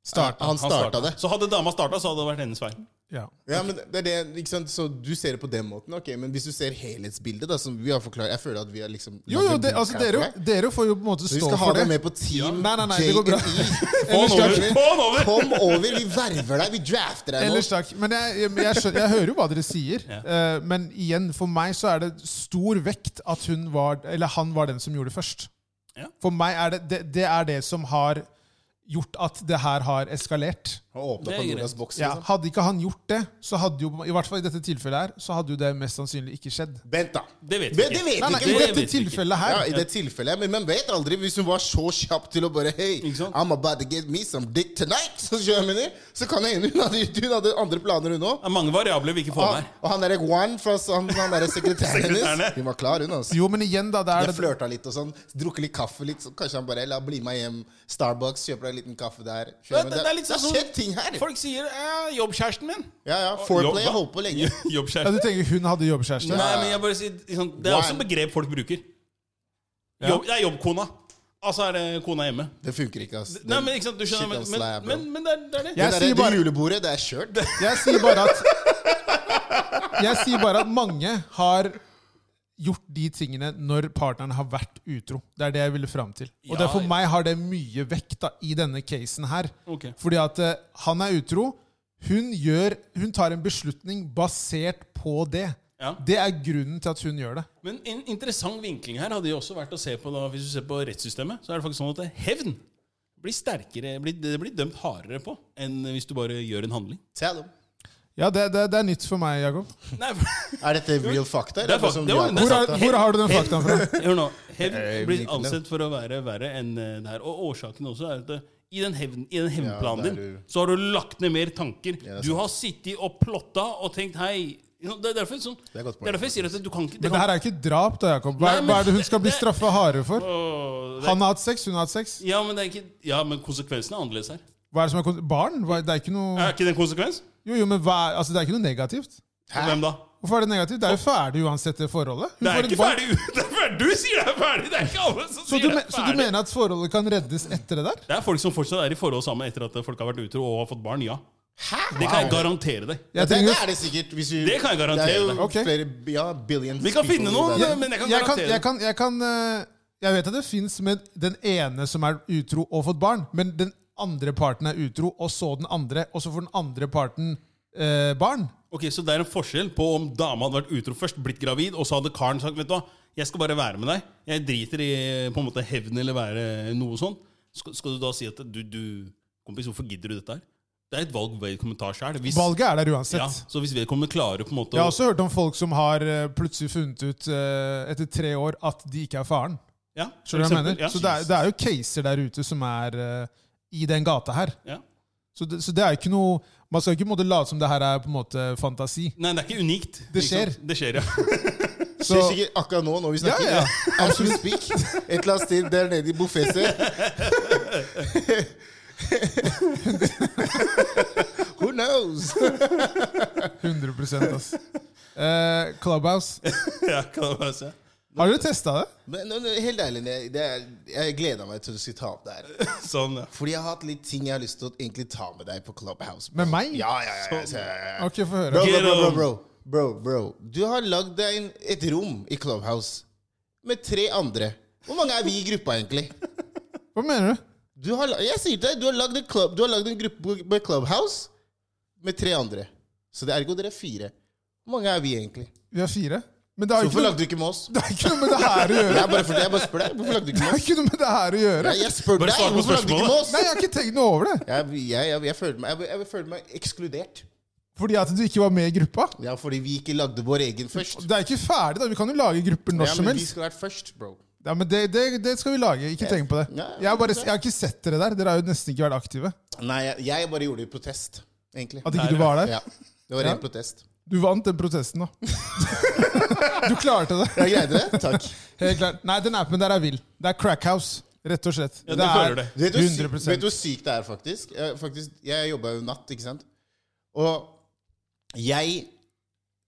Starta.
Han
Han starta det.
Så hadde dama starta, så hadde det vært hennes feil.
Ja.
Ja, men det er det, ikke sant? Så du ser det på den måten, ok. Men hvis du ser helhetsbildet, da, som vi har forklart Jeg føler at vi har liksom
Jo, jo, det, altså, dere, dere får jo på en måte
Vi
stå
skal ha
for
deg
det.
med på team
Nei, nei, nei, det går bra.
J&E.
Få han over!
Skjønner du?
Få han over!
Kom over! Vi verver deg! Vi drafter deg nå!
Ellers takk. Men jeg, jeg, jeg, skjønner, jeg hører jo hva dere sier. eh, men igjen, for meg så er det stor vekt at hun var, eller han var den som gjorde det først.
Ja.
For meg er det, det det er det som har gjort at det her har eskalert.
Og åpna
Det er
Pandoras
greit.
boks.
Ja.
Liksom.
Hadde ikke han gjort det, så hadde jo i hvert fall i dette tilfellet her, så hadde jo det mest sannsynlig ikke skjedd.
Vent, da!
Det vet vi
Men det
ikke.
vet
Nei, nei,
vi
I
ikke.
Det
dette
vet vi ikke.
tilfellet
Ja,
her.
I det tilfellet. Men man vet aldri. Hvis hun var så kjapp til å bare Hey,
Ikke sant?
I'm about to get me some dick tonight! Så, skjønner jeg mener, så kan det hende hun hadde, hun hadde andre planer, hun òg.
Det er mange variabler vi ikke får
Og
med
han,
her.
og han derre Juan fra han, han derre sekretæren
Sekretæren, ja.
hennes. Hun var klar, hun. altså
Jo, men igjen, da. Det er
Jeg
det,
flørta litt og sånn. Drukket litt kaffe. litt så Kanskje han bare la bli med hjem. Starbucks, kjøper deg en liten kaffe
Det,
der. Skjønner du?
det, det er litt sånn
har skjedd ting her!
Folk sier eh, 'jobbkjæresten min'.
Ja, ja.
Jobb,
Foreplay
da.
har holdt på lenge.
ja,
Jobbkjæresten.
du tenker hun hadde jobbkjæreste?
Nei, men jeg bare sier liksom, Det er også et begrep folk bruker. Jobb, det er jobbkona. Altså er det kona hjemme.
Det funker ikke, ass.
Nei,
Den-
men ikke sant, du skjønner
Shit,
Men,
ass,
men,
nei, bro.
men, men det, er, det er det.
Jeg
det, der,
sier
det
bare-
julebordet, det er kjørt.
Jeg sier bare at Jeg sier bare at mange har gjort de tingene når partneren har vært utro. Det er det jeg ville fram til. Og det
Ja.
for meg har det mye vekt da, i denne casen her.
Ok.
Fordi at eh, han er utro. Hun, gjør, hun tar en beslutning basert på det.
Ja.
Det er grunnen til at hun gjør det.
Men en interessant vinkling her hadde jo også vært å se på da, hvis du ser på rettssystemet, så er det faktisk sånn at hevn blir sterkere, blir, det blir dømt hardere på enn hvis du bare gjør en handling.
Tell them.
Ja, det, det, det er nytt for meg, Jakob.
Nei, for-
Er dette real fakta?
Det er
Eller?
fakt-
som
det
du
var-
har-
det er
Hvor,
sant,
er, hvor har du den faktaen fra?
hør nå. Hevn
Eh,
blir
vinkling.
ansett for å være verre enn eh, det her. Og årsaken også er at det, i den, hevn, i den
Ja,
hevnplanen
det er
din
du.
så har du lagt ned mer tanker.
det er
du har sittet og plotta og tenkt hei Det er derfor, sånn,
er et godt poeng.
det er derfor jeg sier at du kan ikke det
Men det
kan,
her er ikke drap, da, Jakob. Hva,
Nei, men
hva er det hun skal bli
det-
straffa hardere for?
Åh, det er-
Han har hatt sex, hun har hatt sex.
ja, men det er ikke, ja, men konsekvensen er annerledes her.
Hva er det som er kon barn? Hva, det er ikke noe
Er ikke det en konsekvens?
Jo, jo, men hva, er- altså, det er ikke noe negativt.
For Hvem da?
Hvorfor er det negativt? Det er jo ferdig uansett, det forholdet. Hun
Det
får
er
et
ikke
barn.
ferdig! Det er ferdig. Du sier det er ferdig! Det er ikke alle som
Så
sier
du,
det
me-
er
så du
ferdig.
mener at forholdet kan reddes etter det der?
Det er folk som fortsatt er i forhold sammen etter at folk har vært utro og har fått barn. ja.
Hæ?
Det kan jeg garantere deg.
Ja,
Jeg
det, det
trenger,
er det sikkert. Hvis vi,
Det kan jeg garantere
Det er jo
deg.
Ok.
flere ja, billions
Vi kan
people
finne
i
noen, eh,
verden.
men jeg kan
jeg, kan, jeg,
garantere
kan, jeg, kan, eh, jeg vet at det fins med den ene som er utro og fått barn, men den andre parten er utro, og så den andre, og så får den andre parten eh, barn.
Ok, Så det er en forskjell på om dama hadde vært utro først, blitt gravid, og så hadde karen sagt vet du hva, jeg skal bare være med deg. Jeg driter i eh, på en måte hevn eller være noe sånn. Skal, skal du da si at du, du, kompis, hvorfor gidder du dette her? Det er et valg vedkommende tar sjøl.
Valget er der
Ja,
uansett.
så hvis vedkommende klarer på en måte
Jeg
å
har også hørt om folk som har eh, plutselig funnet ut eh, etter tre år at de ikke er faren.
ja, for
Skjønner du hva jeg
eksempel,
mener? Så det er, det er jo caser der ute som er eh, i den gata her.
Ja, ja.
Så det, så det er jo ikke noe Man skal ikke på en måte late som det her er på en måte fantasi.
Nei, det er ikke unikt.
Det
ikke sant? Det skjer, ja.
Så,
Skjer sikkert akkurat nå, når vi
ja,
snakker.
ja.
As we speak. Et eller annet sted der nede i buffeset. Who knows?
100 ass. Eh, Clubhouse.
ja, kan jeg bare se.
Har du testa det?
Men nå- nå, helt ærlig, det, det er, jeg gleder meg til du skal ta opp det her.
Sånn, ja.
Fordi jeg har hatt litt ting jeg har lyst til å egentlig ta med deg på Clubhouse.
Med meg?
Ja, ja, ja, ja, ja, ja, ja.
Ok, få
Bro,
høre.
Get
bro, bro,
on.
bro, bro, bro, bro. Du har lagd deg en, et rom i Clubhouse med tre andre. Hvor mange er vi i gruppa, egentlig?
Hva mener du?
Du har, la- jeg sier til deg, du har lagd en, club, du har lagd en gruppe på Clubhouse med tre andre. Så det er ergo dere er fire. Hvor mange er vi, egentlig?
Vi er fire. Men det har ikke
Hvorfor
noe,
lagde du ikke med oss?
det har ikke noe med det her å
Jeg
gjøre.
bare, jeg bare spør deg. Hvorfor lagde du ikke
Det
med
har
oss?
ikke noe med det her å gjøre.
Jeg, jeg spør
Bare
deg.
svar på
Hvorfor lagde du ikke med oss?
Nei, Jeg har ikke tenkt noe over det.
Jeg, jeg, jeg, jeg, føler meg, jeg, jeg føler meg ekskludert.
Fordi at du ikke var med i gruppa.
Ja, fordi vi ikke lagde vår egen først.
Det er ikke ferdig, da. Vi kan jo lage grupper når
Ja,
som
men vi
helst.
skulle vært først, bro.
Ja, men det, det, det skal vi lage. Ikke tenk på det.
Ja,
Jeg har, bare, jeg har ikke sett dere der. Dere har jo nesten ikke vært aktive.
Nei, jeg, jeg bare gjorde det i protest, egentlig.
At ikke du var der.
Ja, det var
Ja.
ren protest.
Du vant den protesten, da. Du klarte det.
Jeg greide det. Takk.
Helt klart. Nei, den appen der er vill. Det er crackhouse, rett og slett.
Ja, du føler det.
Vet du, hvor syk-
100%.
vet du hvor sykt det er, faktisk? Jeg, faktisk, jeg jobba jo natt, ikke sant? Og jeg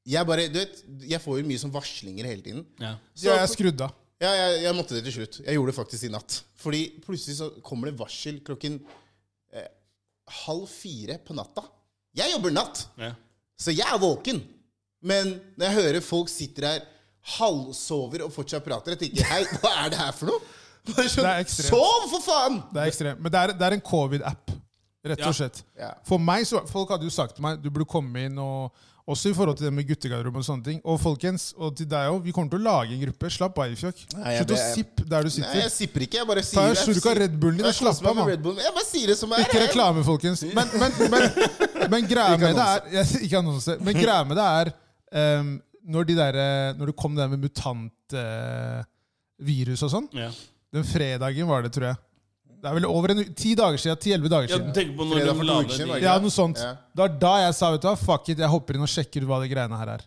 Jeg bare Du vet, jeg får jo mye sånn varslinger hele tiden.
ja.
Så-
Ja, jeg er skrudd av.
Ja, jeg, jeg måtte det til slutt. Jeg gjorde det faktisk i natt. Fordi plutselig så kommer det varsel klokken eh, halv fire på natta. Jeg jobber natt,
ja.
så jeg er våken. Men når jeg hører folk sitter her halvsover og fortsatt prater, jeg tenker hei, hva er det her for noe? Bare sånn,
Det er ekstremt.
Sov, for faen!
Det er ekstremt. Men det er, det er en covid-app, rett
Ja.
og slett.
Ja.
For meg, så, Folk hadde jo sagt til meg du burde komme inn, og, også i forhold til det med guttegarderobe og sånne ting. Og folkens, og til deg òg, vi kommer til å lage en gruppe. Slapp av, Ifjok.
Nei, jeg
Slutt å
ble-
sippe der du
Nei,
sitter.
jeg sipper ikke. Jeg bare sier
Ta en
jeg
slurk av
sier-
Red Bullen din og
Jeg koser
slapp
meg
av,
med
mann.
Red Bullen. Jeg bare sier det som er.
Ikke
jeg.
reklame, folkens. Men, men, men, men greia med det er jeg, Ikke annonse. Men greia med det er ehm, når, de der, eh, når det kom det der med mutantvirus og sånn
ja.
Den fredagen var det, tror jeg. Det er vel over en, u- ti dager siden. Ti-elleve dager
ja
siden.
Tenk på når
Fredag for
de
to
la
uker
det
siden, var
de-
det
Ja, noe sånt.
Ja.
Det var da jeg sa vet du hva, fuck it, jeg hopper inn og sjekker ut hva det greiene her er.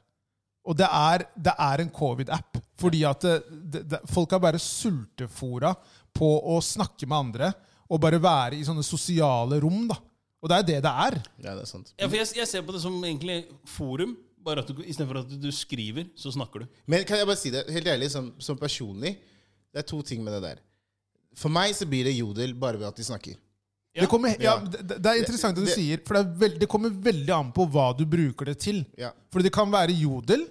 Og det er, det er en covid-app. Fordi at det, det, det, folk er bare sultefora på å snakke med andre og bare være i sånne sosiale rom. da. Og det er det det er.
Ja, det er sant.
Ja, for jeg, jeg ser på det som egentlig forum. Bare at du, Istedenfor at du skriver, så snakker du.
Men kan jeg bare si det helt ærlig, som, som personlig, det er to ting med det der. For meg så blir det jodel bare ved at de snakker.
Det, kommer, he- ja,
Ja.
det, det er interessant det du
Det-
sier, for det, er veld, det kommer veldig an på hva du bruker det til.
Ja.
For det kan være jodel,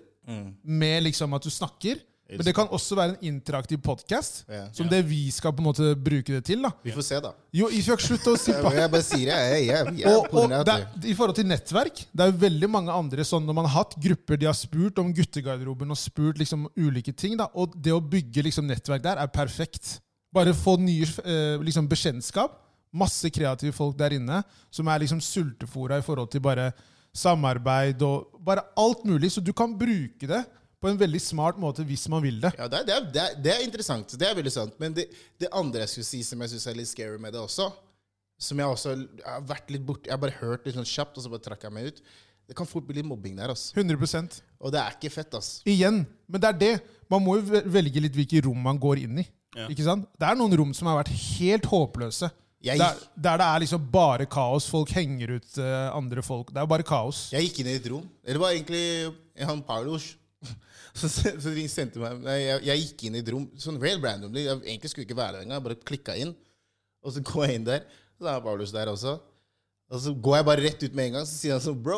med liksom at du snakker. Men det kan også være en interaktiv podkast,
Ja.
som det vi skal på en måte bruke det til. da.
Vi får se, da.
Jo, Ifjok, slutt å sippe.
Jeg bare sier det. Jeg, jeg, jeg, er
Og,
på
og
grunn av
det,
at det.
er- I forhold til nettverk Det er jo veldig mange andre sånn Når man har hatt grupper de har spurt om guttegarderoben Og spurt liksom ulike ting da, Og det å bygge liksom nettverk der er perfekt Bare få nye eh, liksom bekjennskap Masse kreative folk der inne Som er liksom sultefora i forhold til bare Samarbeid og bare alt mulig Så du kan bruke det på en veldig smart måte Hvis man vil det
Ja, det, er- det, er- det, er- det er interessant. Det er veldig sant. Men det, det andre jeg skulle si som jeg syns er litt scary med det også, som jeg også jeg har vært litt borti Jeg har bare hørt litt sånn kjapt, og så bare trakk jeg meg ut. Det kan fort bli litt mobbing der, altså.
100%
Og det er ikke fett, altså. ass.
Igjen, men det er det. Man må jo ve- velge litt hvilke rom man går inn i.
Ja.
Ikke sant? Det er noen rom som har vært helt håpløse.
Jeg-
Der, der det er liksom bare kaos. Folk henger ut eh, andre folk. Det er bare kaos.
Jeg gikk inn i et rom. Eller det var egentlig han Paulos. Så, så de sendte meg Nei, jeg, jeg gikk inn i et rom sånn real randomly. Jeg egentlig skulle ikke være der engang. Jeg bare klikka inn. Og så går jeg inn der. Så er Paulos der også. Og så går jeg bare rett ut med en gang, så sier han sånn Bro,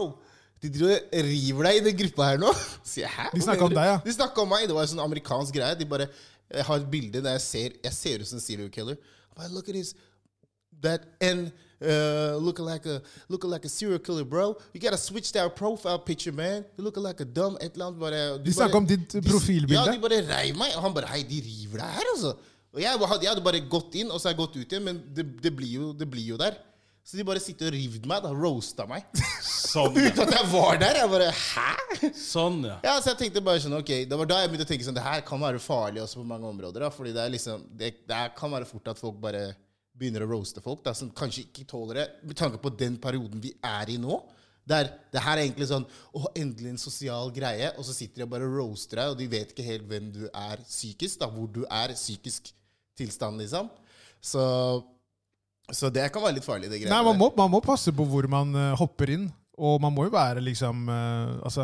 de driver og river deg i den gruppa her nå. Så sier jeg, hæ?
De
Hva
snakker
mener
om
du?»
deg, ja.
De snakka om meg. Det var en sånn amerikansk greie. De bare Jeg har et bilde der jeg ser Jeg ser ut som en serial killer. I'm Like, Look at his that and uh, looking like a looking like a serial killer, bro. You gotta switch that profile picture, man. You looking like a dumb et eller annet. Bare,
De snakker
bare-
om ditt
de-
profilbilde.
Ja, de bare reiv meg. Og han bare Hei, de river deg her, altså. Og jeg, hadde- jeg hadde bare gått inn, og så har jeg gått ut igjen, men det, det, blir, jo, det blir jo der. Så de bare sitter og rivde meg, da. Roasta meg.
Sånn, ja.
Uten at jeg var der. Jeg bare Hæ?
Sånn, ja.
Ja, så jeg tenkte bare sånn, ok, Det var da jeg begynte å tenke sånn, det her kan være farlig også på mange områder. da, fordi det er liksom, det, det her kan være fort at folk bare begynner å roaste folk da, som kanskje ikke tåler det, med tanke på den perioden vi er i nå. Det, er, det her er egentlig sånn Å, endelig en sosial greie. Og så sitter de og bare roaster deg, og de vet ikke helt hvem du er psykisk. da, Hvor du er psykisk tilstand, liksom. Så, så det kan være litt farlig, det
Nei,
greiene
man må, man må passe på hvor man eh, hopper inn. Og man må jo være liksom eh, altså,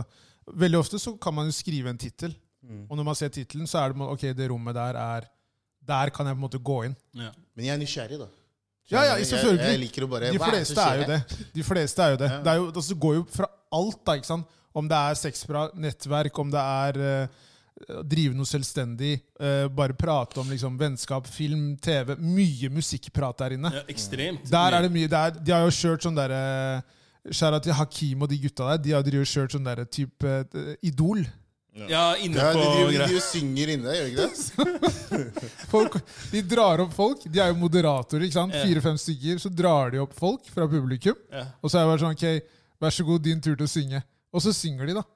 Veldig ofte så kan man jo skrive en tittel.
Mm.
Og når man ser tittelen, så er det ok, det rommet der er Der kan jeg på en måte gå inn.
Ja.
Men jeg er nysgjerrig, da.
Ja, ja,
Jeg-
selvfølgelig.
Jeg, jeg liker å bare
De
hva er som
fleste er jo
skjer her?
det. De fleste er jo det.
Ja.
Det er jo, altså, det går jo fra alt, da. ikke sant? Om det er sexbra nettverk, om det er eh, å drive noe selvstendig, eh, bare prate om liksom, vennskap, film, TV. Mye musikkprat der inne.
ja, ekstremt.
Der er det mye. Der, de har jo kjørt sånn derre Skjæra til Hakim og de gutta der, de har drevet og kjørt sånn derre type eh, Idol.
Ja, inne
Ja, de
på
driver de
greier.
jo synger inne, gjør de ikke det?
Folk, de drar opp folk. De er jo moderatorer, ikke sant?
Ja.
Fire-fem stykker. Så drar de opp folk fra publikum.
Ja.
Og så er det bare sånn, ok, vær så god, din tur til å synge. Og så synger de, da.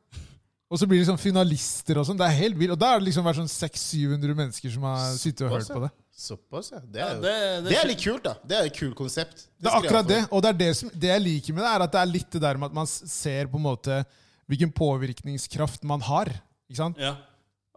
Og så blir de sånn finalister og sånn. Det er helt vilt. Og da er det liksom vært sånn 600-700 mennesker som har sittet og hørt på det.
Såpass, ja. Det er, jo-
det, det,
det er litt kult, da. Det er et kult konsept.
Det er
skal jeg
akkurat
ha
det.
for.
Og det er det, som, det jeg liker med det, er at det er litt det der med at man s- ser på en måte hvilken påvirkningskraft man har. Ikke sant?
Ja.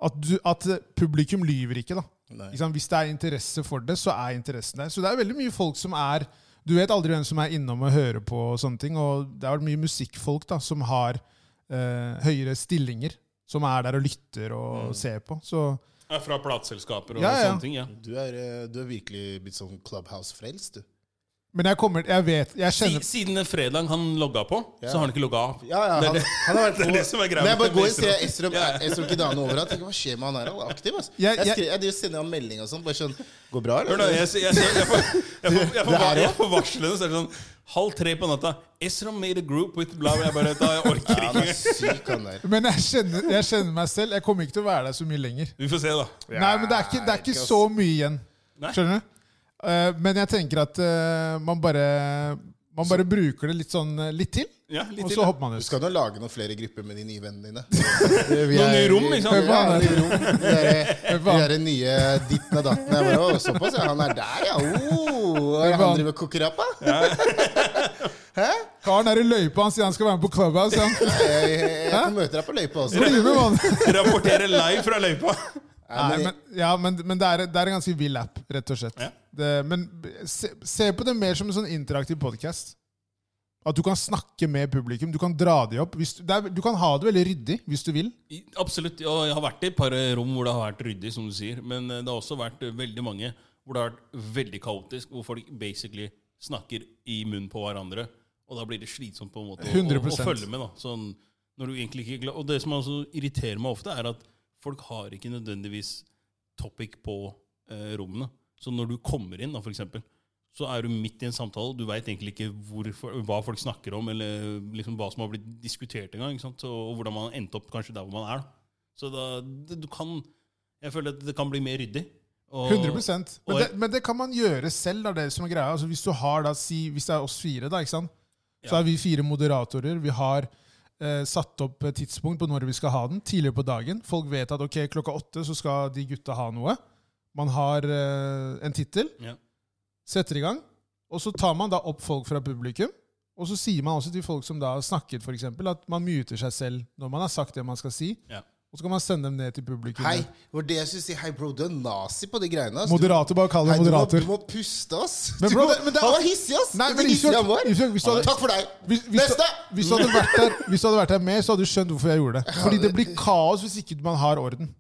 At, du, at eh, publikum lyver ikke, da.
Nei.
Ikke sant? Hvis det er interesse for det, så er interessen der. Så det er veldig mye folk som er Du vet aldri hvem som er innom og hører på og sånne ting. Og det har vært mye musikkfolk da, som har eh, høyere stillinger. Som er der og lytter og ser på. Så
Ja, Fra plateselskaper og
Ja, ja.
sånne ting. ja.
Du er, eh, du er virkelig blitt sånn Clubhouse-frelst, du.
Men jeg kommer Jeg vet Jeg
Si,
kjenner
siden den fredagen han logga på,
Ja.
så har han ikke logga av.
Ja, ja,
Det er
han,
det-
han har vært
det er
på-
det som er greia
Men
med
jeg bare går inn og
Esrom.
ser Esrom
Ja.
Esrom Kidane overalt. Jeg tenker, Hva skjer med han her? Han er aktiv, altså.
Jeg-
Jeg,
jeg-
skri- jeg, driver og sender han melding og sånn. Bare sånn Går bra,
Hør nå,
eller?
jeg, jeg, jeg, jeg, får, jeg, får, jeg, får,
Det her
jeg får varslene, så er det sånn halv tre på natta Esrom made a group with bla bla. Jeg bare, da, jeg orker
Ja, han er
ikke.
syk, han der.
Men jeg kjenner, jeg kjenner meg selv. Jeg kommer ikke til å være der så mye lenger.
Vi får se, da.
Nei, men det er ikke, det er ikke så mye igjen.
Nei.
Skjønner du? Eh, men jeg tenker at eh, man bare Man bare bruker det litt sånn eh, litt til,
Ja, litt
og
til.
så hopper man
Du
ut.
skal nå lage noen flere grupper med de nye vennene dine. Noen
nye rom, ikke sant?
Ja, nye rom. eh, De der-
Hør på
de
han.
der nye ditten og datten. Jeg bare, «Å, Såpass, ja. Han er der, ja. Oh, hva er det
Hør på
han
han.
driver og koker opp, da?
Karen er i løypa, han sier han skal være med på Clubhouse. Han.
Jeg, jeg, jeg kan møte deg på løypa også.
Bli med, mann!
Rapportere live fra løypa.
Ja,
Nei,
men-
men, ja, men, men det, er, det er en ganske vill app, rett og slett.
Ja.
Det, men se, se på det mer som en sånn interaktiv podkast. At du kan snakke med publikum. Du kan dra de opp. Hvis du, det er, du kan ha det veldig ryddig hvis du vil.
I- Absolutt. Og jeg har vært i et par eh, rom hvor det har vært ryddig, som du sier. Men eh, det har også vært eh, veldig mange hvor det har vært veldig kaotisk, hvor folk basically snakker i munnen på hverandre. Og da blir det slitsomt på en måte å, å, å
100%.
følge med. da. Sånn, når du egentlig ikke er glad. Og det som også irriterer meg ofte, er at folk har ikke nødvendigvis topic på eh, rommene. Så når du kommer inn, da, for eksempel, så er du midt i en samtale. Du veit egentlig ikke hvorfor, hva folk snakker om, eller liksom hva som har blitt diskutert engang. ikke sant? Og hvordan man har endt opp kanskje der hvor man er. da. Så da, det, du kan, jeg føler at det kan bli mer ryddig. Og,
100 Men,
og-
det, men det kan man gjøre selv. Da, det som er greia. Altså, hvis, du har, da, si, hvis det er oss fire, da, ikke sant? så
Ja.
er vi fire moderatorer. Vi har eh, satt opp eh, tidspunkt på når vi skal ha den, tidligere på dagen. Folk vet at ok, klokka åtte så skal de gutta ha noe. Man har eh, en tittel,
Ja.
setter i gang, og så tar man da opp folk fra publikum. Og så sier man også til folk som da har snakket, for eksempel, at man muter seg selv når man har sagt det man skal si.
Ja.
Og så kan man sende dem ned til publikum.
Hei, det var det jeg skulle si. Hei, bro, du er nazi på de greiene. ass. Du-
Moderator, bare kall
Hei,
deg
du må,
moderator.
du må puste, ass.
Men
Du
bro,
må-
det- men det er-
han var hissig, ass.
Nei,
Det
men
var hissig
Isak-
han var.
Isak, hvis du hadde-
Takk for deg.
Hvis, hvis,
Neste!
du- hvis, du hadde vært der, hvis du hadde vært der med, så hadde du skjønt hvorfor jeg gjorde det. Fordi det blir kaos hvis ikke man har orden.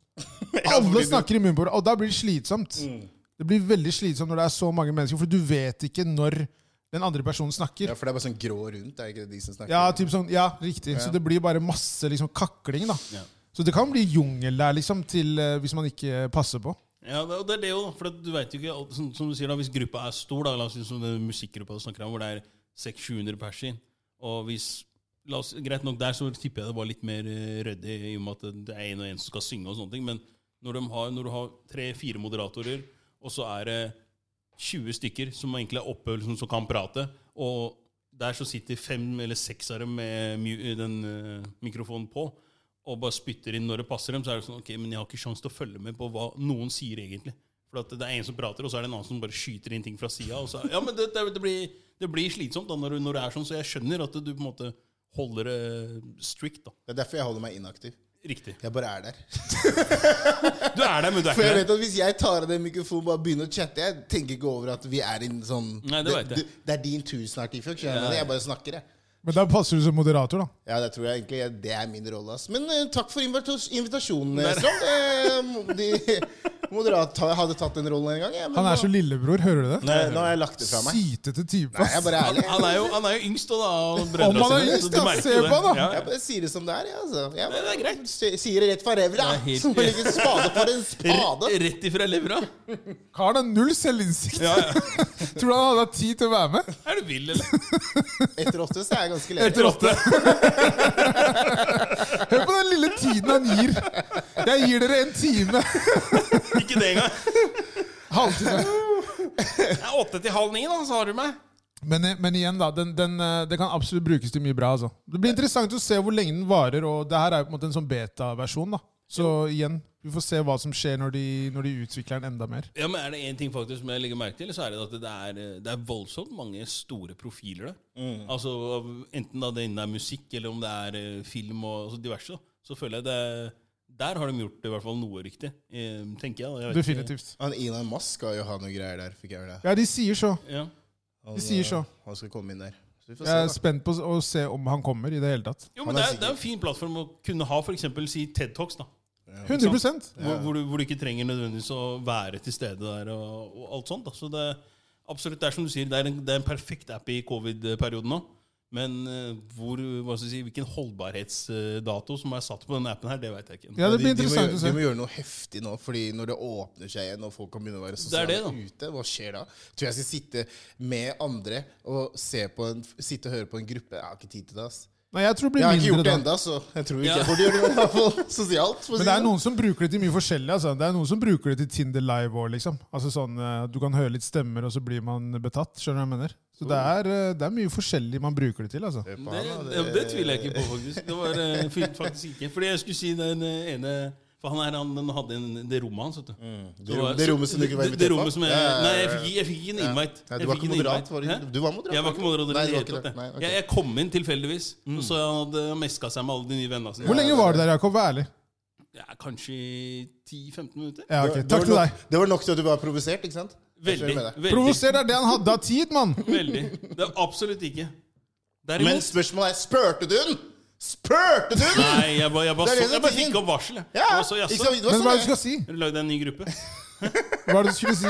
Alle snakker i munnen på hverandre, og da blir det slitsomt.
Mm.
Det blir veldig slitsomt når det er så mange mennesker, for du vet ikke når den andre personen
Ja,
snakker.
for det er bare sånn grå rundt, er det ikke det de som snakker?
Ja, typ sånn, ja riktig. Så det blir bare masse liksom, kakling, da.
Ja.
Så det kan bli jungel der, liksom, til, eh, hvis man ikke passer på.
Ja, det, og det er det jo, da, for at du vet jo ikke, alt- som, som du sier da, Hvis gruppa er stor, da, la oss si som den musikkgruppa du snakker om, hvor det er 600-700 pers inn og hvis, la oss, Greit nok der så tipper jeg det var litt mer eh, ryddig, i og med at det- det er en og en som skal synge, og sånne ting, men når, de har, når du har tre-fire moderatorer, og så er det 20 stykker som egentlig er oppe liksom, som kan prate, og der så sitter fem eller seks av dem med mu- den eh, mikrofonen på, og bare spytter inn når det passer dem, så er det sånn ok, men jeg har ikke sjans til å følge med på hva noen sier egentlig. For at det er en som prater, og så er det en annen som bare skyter inn ting fra sida. Ja, men det, det, det, blir, det blir slitsomt da når, du- når det er sånn, så jeg skjønner at du på en måte holder det strict, da.
Det er derfor jeg holder meg inaktiv.
Riktig.
Jeg bare er der.
Du er der, men du er
For jeg
ikke der.
vet at Hvis jeg tar av den mikrofonen og bare begynner å chatte Jeg tenker ikke over at vi er i en sånn
Nei, det vet jeg.
det, det er din tur snart. Ifjok, skjønner du? Jeg bare snakker, jeg.
Men da passer du som moderator, da.
Ja, det tror jeg egentlig jeg- Det er min rolle. ass. Men eh, takk for invitas invitasjonen, eh, Strand. Eh, mo- de- Moderat ta- hadde tatt den rollen en gang. Ja, men
Han
nå-
er så lillebror, hører du det?
Nei, nå har jeg lagt det fra meg.
Sytete type.
Nei, jeg er
ass.
bare ærlig.
Han er jo, han er jo yngst, da. da av brødrene
Om han er
sine, så
yngst,
du
ja,
merker
se
jo
på han, da.
Ja,
Jeg
ja.
bare sier det som det er. Ja, altså. jeg
det er greit.
s- Sier det rett fra revra.
Det er helt-
Som å legge en spade for en spade.
Rett, rett ifra levra.
Karen har null selvinnsikt.
Ja, ja.
Tror du han hadde hatt tid til å være med?
Er du vill, eller?
Etter åtte så er jeg ganske ledig.
Etter åtte. Hør på den lille tiden han gir. Jeg gir dere en time.
Ikke det engang.
Halvtime.
Det er åtte til halv ni, da, så har du meg.
Men, eh, men igjen, da. Den, den, eh, det kan absolutt brukes til mye bra. Altså. Det blir interessant å se hvor lenge den varer. Og det her er jo på en måte en sånn beta-versjon. da. Så igjen, vi får se hva som skjer når de, når de utvikler den enda mer.
Ja, men Er det én ting faktisk som jeg legger merke til, så er det at det er, det er voldsomt mange store profiler der. Altså, av- Enten da det innen er musikk, eller om det er eh, film og altså diverse. da. Så føler jeg det Der har de gjort i hvert fall noe riktig, eh, tenker jeg. da. jeg vet ikke.
Definitivt.
Han Elon Musk skal jo ha noe greier der. fikk jeg høre det.
Ja, de sier så.
Ja.
Han,
De sier så.
eh, Han skal komme inn der. Så vi får se,
Jeg er
da.
spent på å se om han kommer i det hele tatt.
Jo, men
Han
det
er
er, det er en fin plattform å kunne ha f.eks. si TED Talks. da.
100
Hvor, hvor, du, hvor du ikke trenger nødvendigvis å være til stede der og, og alt sånt. Da. Så det, absolutt, det er som du sier, det er en, det er en perfekt app i covid-perioden nå. Men eh, hvor, hva skal jeg si, hvilken holdbarhetsdato som er satt på denne appen, her, det vet jeg ikke.
Ja, det
De-
blir
de, må
interessant
gjøre,
å
de
se.
må gjøre noe heftig nå, Fordi når det åpner seg igjen og folk kan begynne å være
er
sosiale
det,
ute, hva skjer da? Tror jeg skal sitte med andre og se på en, sitte og høre på en gruppe. Jeg har ikke tid til det. ass.
Nei, jeg tror det
Jeg
blir
har ikke
mindre
gjort det
da.
ennå, så jeg tror ikke
Ja.
jeg burde gjøre det. i hvert fall Sosialt. for å
Men
si
det er
det.
noen som bruker det til mye forskjellig. Altså. Det er noen som bruker det til Tinder live òg, liksom. Altså sånn, eh, du kan høre litt stemmer, og så blir man betatt. Skjønner du hva jeg mener? Så det er, eh, det er mye forskjellig man bruker det til, altså.
Faen,
Det,
da,
det, det tviler jeg ikke på, faktisk. Det var eh, fint faktisk ikke. Fordi jeg skulle si den eh, ene For han her, han, han hadde en, det rommet hans, vet du.
Mm. Det, rom, det rommet som du ikke var
det- det
invitert
rommet som jeg,
Ja, ja, ja,
Nei, jeg
ja.
fikk, jeg fikk ikke en invite.
Nei,
Jeg
du var
fikk
ikke
en
moderat,
invite.
var du ikke?
Hæ?
Du var
Jeg
moderat,
var
var
ikke
du?
moderat. i det
Nei, du var
hele
ikke
tatt,
det. Nei, ok. Mm.
jeg, jeg kom inn tilfeldigvis, så han hadde meska seg med alle de nye vennene sine.
Hvor lenge var du der, Jakob? Vær ærlig.
Ja, kanskje i 10-15 minutter.
Ja,
Det
ok.
var-
Takk
det
til
var
deg.
nok- Det var nok til at du var provosert, ikke sant? Jeg skjønner
Veldig.
med deg.
veldig,
Provoser er det han hadde av tid, mann!
veldig. Det er absolutt ikke.
Men
Derimot
spørsmålet er spurte du den? Spurte du den?!
Nei, jeg bare, jeg bare,
Det
så,
er det
jeg
som er
bare
tingen.
fikk opp varsel. jeg.
Ja,
Jeg var så,
ikke
jaså,
sant? Det var
Men hva
sånn
er det du
det-
skal si?
har du lagd en ny gruppe?
Hva er det du skulle si?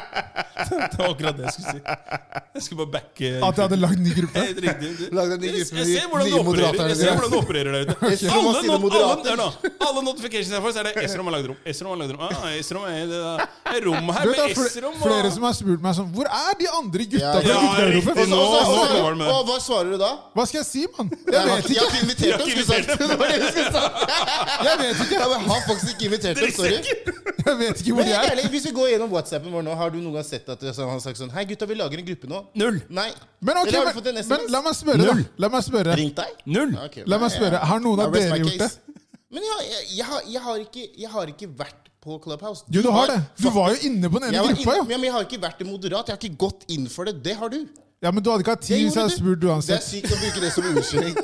Det var akkurat det jeg skulle si. Jeg skulle bare backe
At jeg hadde lagd ny gruppe?
Helt riktig.
Lagde en ny
Jeg-
gruppe
Jeg
med
ser hvordan
nye
du opererer
moderater.
Jeg ser hvordan du opererer der ute.
Esrom har
Alle,
sine
not alle,
moderater.
hør nå. alle notifications jeg får, så er det Esrom har lagd rom. Esrom har lagd rom. Ah, Esrom er i det der- det er rom her
Du vet, det
med
er fl-
Esrom og
flere som har spurt meg sånn Hvor er de andre gutta
Ja,
fra
ja,
gutterommet?
riktig.
Og så- og så-
Nå-
og så-
nå kommer han med.
Og hva svarer du da?
sånn, Hva skal jeg si, mann?
Jeg
Jeg
har,
vet
ikke-
ikke.
jeg har ikke invitert
Jeg har
dem,
ikke
skulle sagt. Det var det du skulle sagt.
Jeg vet ikke,
Jeg har faktisk ikke invitert dem, sorry.
Drittsekker.
jeg vet ikke
Men
hvor de
helt
er.
ærlig, hvis vi går gjennom WhatsAppen vår nå, har du noen gang sett at det er sånn- han har sagt sånn Hei, gutta, vi lager en gruppe nå.
Null.
Nei.
Men, ok,
Eller har du fått en
men,
SMS?
men la meg spørre, da.
Null.
La meg spørre.
Ringt deg?
Null.
Ja, ok,
La
nei,
meg spørre,
jeg-
har noen av
I rest
dere
my
gjort
case. Men jeg, jeg, jeg, har, jeg, har ikke, jeg har ikke vært på Clubhouse.
Jo, du har det. Du
Fuck,
var jo inne på den
jeg
ene
var
gruppa,
inn-
jo.
Ja, men jeg har ikke vært i moderat. Jeg har ikke gått inn for det. Det har du.
Ja, Men du hadde ikke hatt
Det
tid hvis jeg
gjorde
hadde spurt
Det er
uansett.
sykt å bruke det som unnskyldning.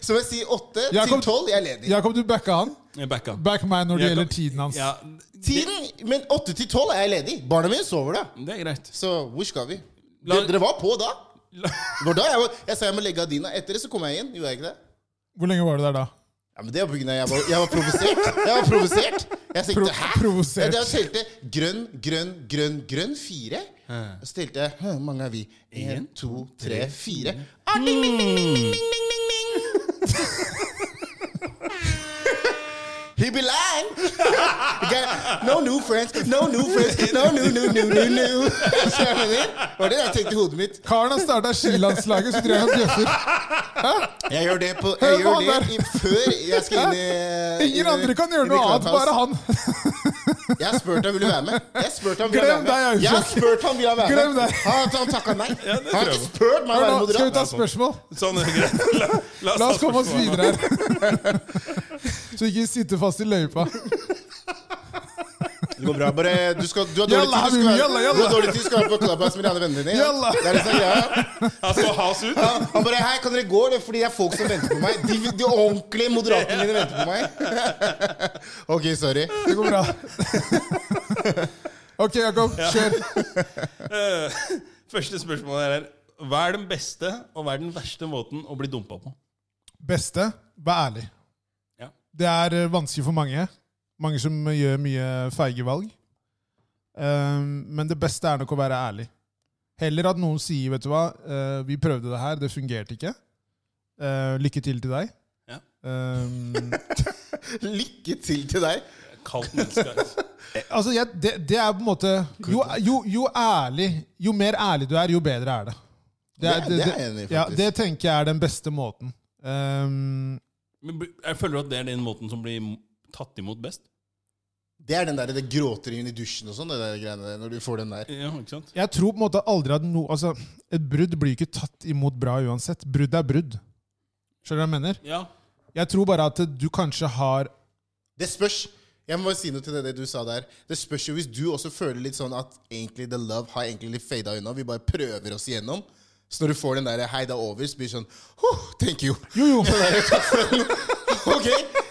som jeg sier, åtte
Jakob-
til tolv, jeg er ledig.
Jakob, du backa han.
Jeg backa.
Back meg når det
Jeg
gjelder
kan-
tiden hans.
Ja, det,
Tiden, men åtte til tolv er jeg ledig. Barna mine sover da.
det er greit.
Så hvor skal vi?
La-
Dere, dere var på da.
La-
Det var da jeg, var, jeg sa jeg må legge Adina. Etter det så kom jeg inn. Gjorde jeg ikke det?
Hvor lenge var du der da?
Ja, men det var på grunn av jeg var, jeg var provosert. Jeg var provosert. Jeg tenkte,
Pro-
hæ?
provosert.
Jeg, jeg telte grønn, grønn, grønn, grønn, fire. Og så telte jeg, hvor mange er vi? En, to, tre, fire. Ah, ding, ding, ding, ding, ding, ding, ding, ding, ding. He be lying. Got- No new friends, no new friends, no new, new, new, new, new. Skjønner du hva jeg mener? Var det jeg tenkte i hodet mitt?
Karen har starta skilandslaget, så tror jeg han bjeffer.
Jeg gjør det, på,
Hør
jeg
på
gjør
han
det i, før jeg skal inn i inn
Ingen
i-
andre kan gjøre
inn i
noe annet,
Clubhouse.
bare han.
Jeg har spurt om han ville være med. Jeg har spurt om
Glem deg, Audun.
Jeg har spurt om ville være med.
Glem deg.
Han, han takka nei.
det
Han har
tror jeg
ikke spurt meg å
Hør
være
nå, skal vi
moderat.
ta spørsmål?
Sånn, det er greit. La,
La oss
ta
komme oss
spørsmålet.
videre her. Så ikke vi sitter fast i løypa.
Det går bra. Bare, du, skal, du har dårlig
Jalla,
tid. Du skal,
Habibi,
være-
jalla, jalla.
Du har dårlig tid, du skal være på Clubhouse med de andre vennene dine. ja.
Jalla.
Det er det som er greia.
Han så has ut.
Han, han bare Hei, kan dere gå? Det er fordi det er folk som venter på meg. De, de ordentlige moderatene mine venter på meg. ok, sorry.
Det går bra. ok, Jakob. Kjør.
Eh, Første spørsmål her er Hva er den beste og hva er den verste måten å bli dumpa på?
Beste, vær ærlig.
Ja.
Det er eh, vanskelig for mange. Mange som eh, gjør mye feige valg. Ehm, men det beste er nok å være ærlig. Heller at noen sier, vet du hva, eh, vi prøvde det her, det fungerte ikke. Eh, lykke til til deg.
Ja.
Ehm,
Lykke til til deg.
Kaldt menneske. altså.
altså, jeg, det, det er på en måte jo, jo, jo ærlig, jo mer ærlig du er, jo bedre er det.
Det er- det er jeg enig i,
Ja,
faktisk.
det tenker jeg er den beste måten. Ehm,
Men bl- jeg føler at det er den måten som blir m- tatt imot best.
Det er den der det gråteringen i dusjen og sånn, det der greiene der, når du får den der.
Ja, ikke sant?
Jeg tror på en måte aldri at no, altså, Et brudd blir jo ikke tatt imot bra uansett. Brudd er brudd. Skjønner du hva jeg mener?
Ja.
Jeg tror bare at du kanskje har
Det spørs. Jeg må bare si noe til det, det du sa der. Det spørs jo hvis du også føler litt sånn at egentlig the love har egentlig litt fada unna. Vi bare prøver oss igjennom. Så når du får den der 'hei, det er over', så blir det sånn «Huh, Thank you.
Jo, jo!
OK?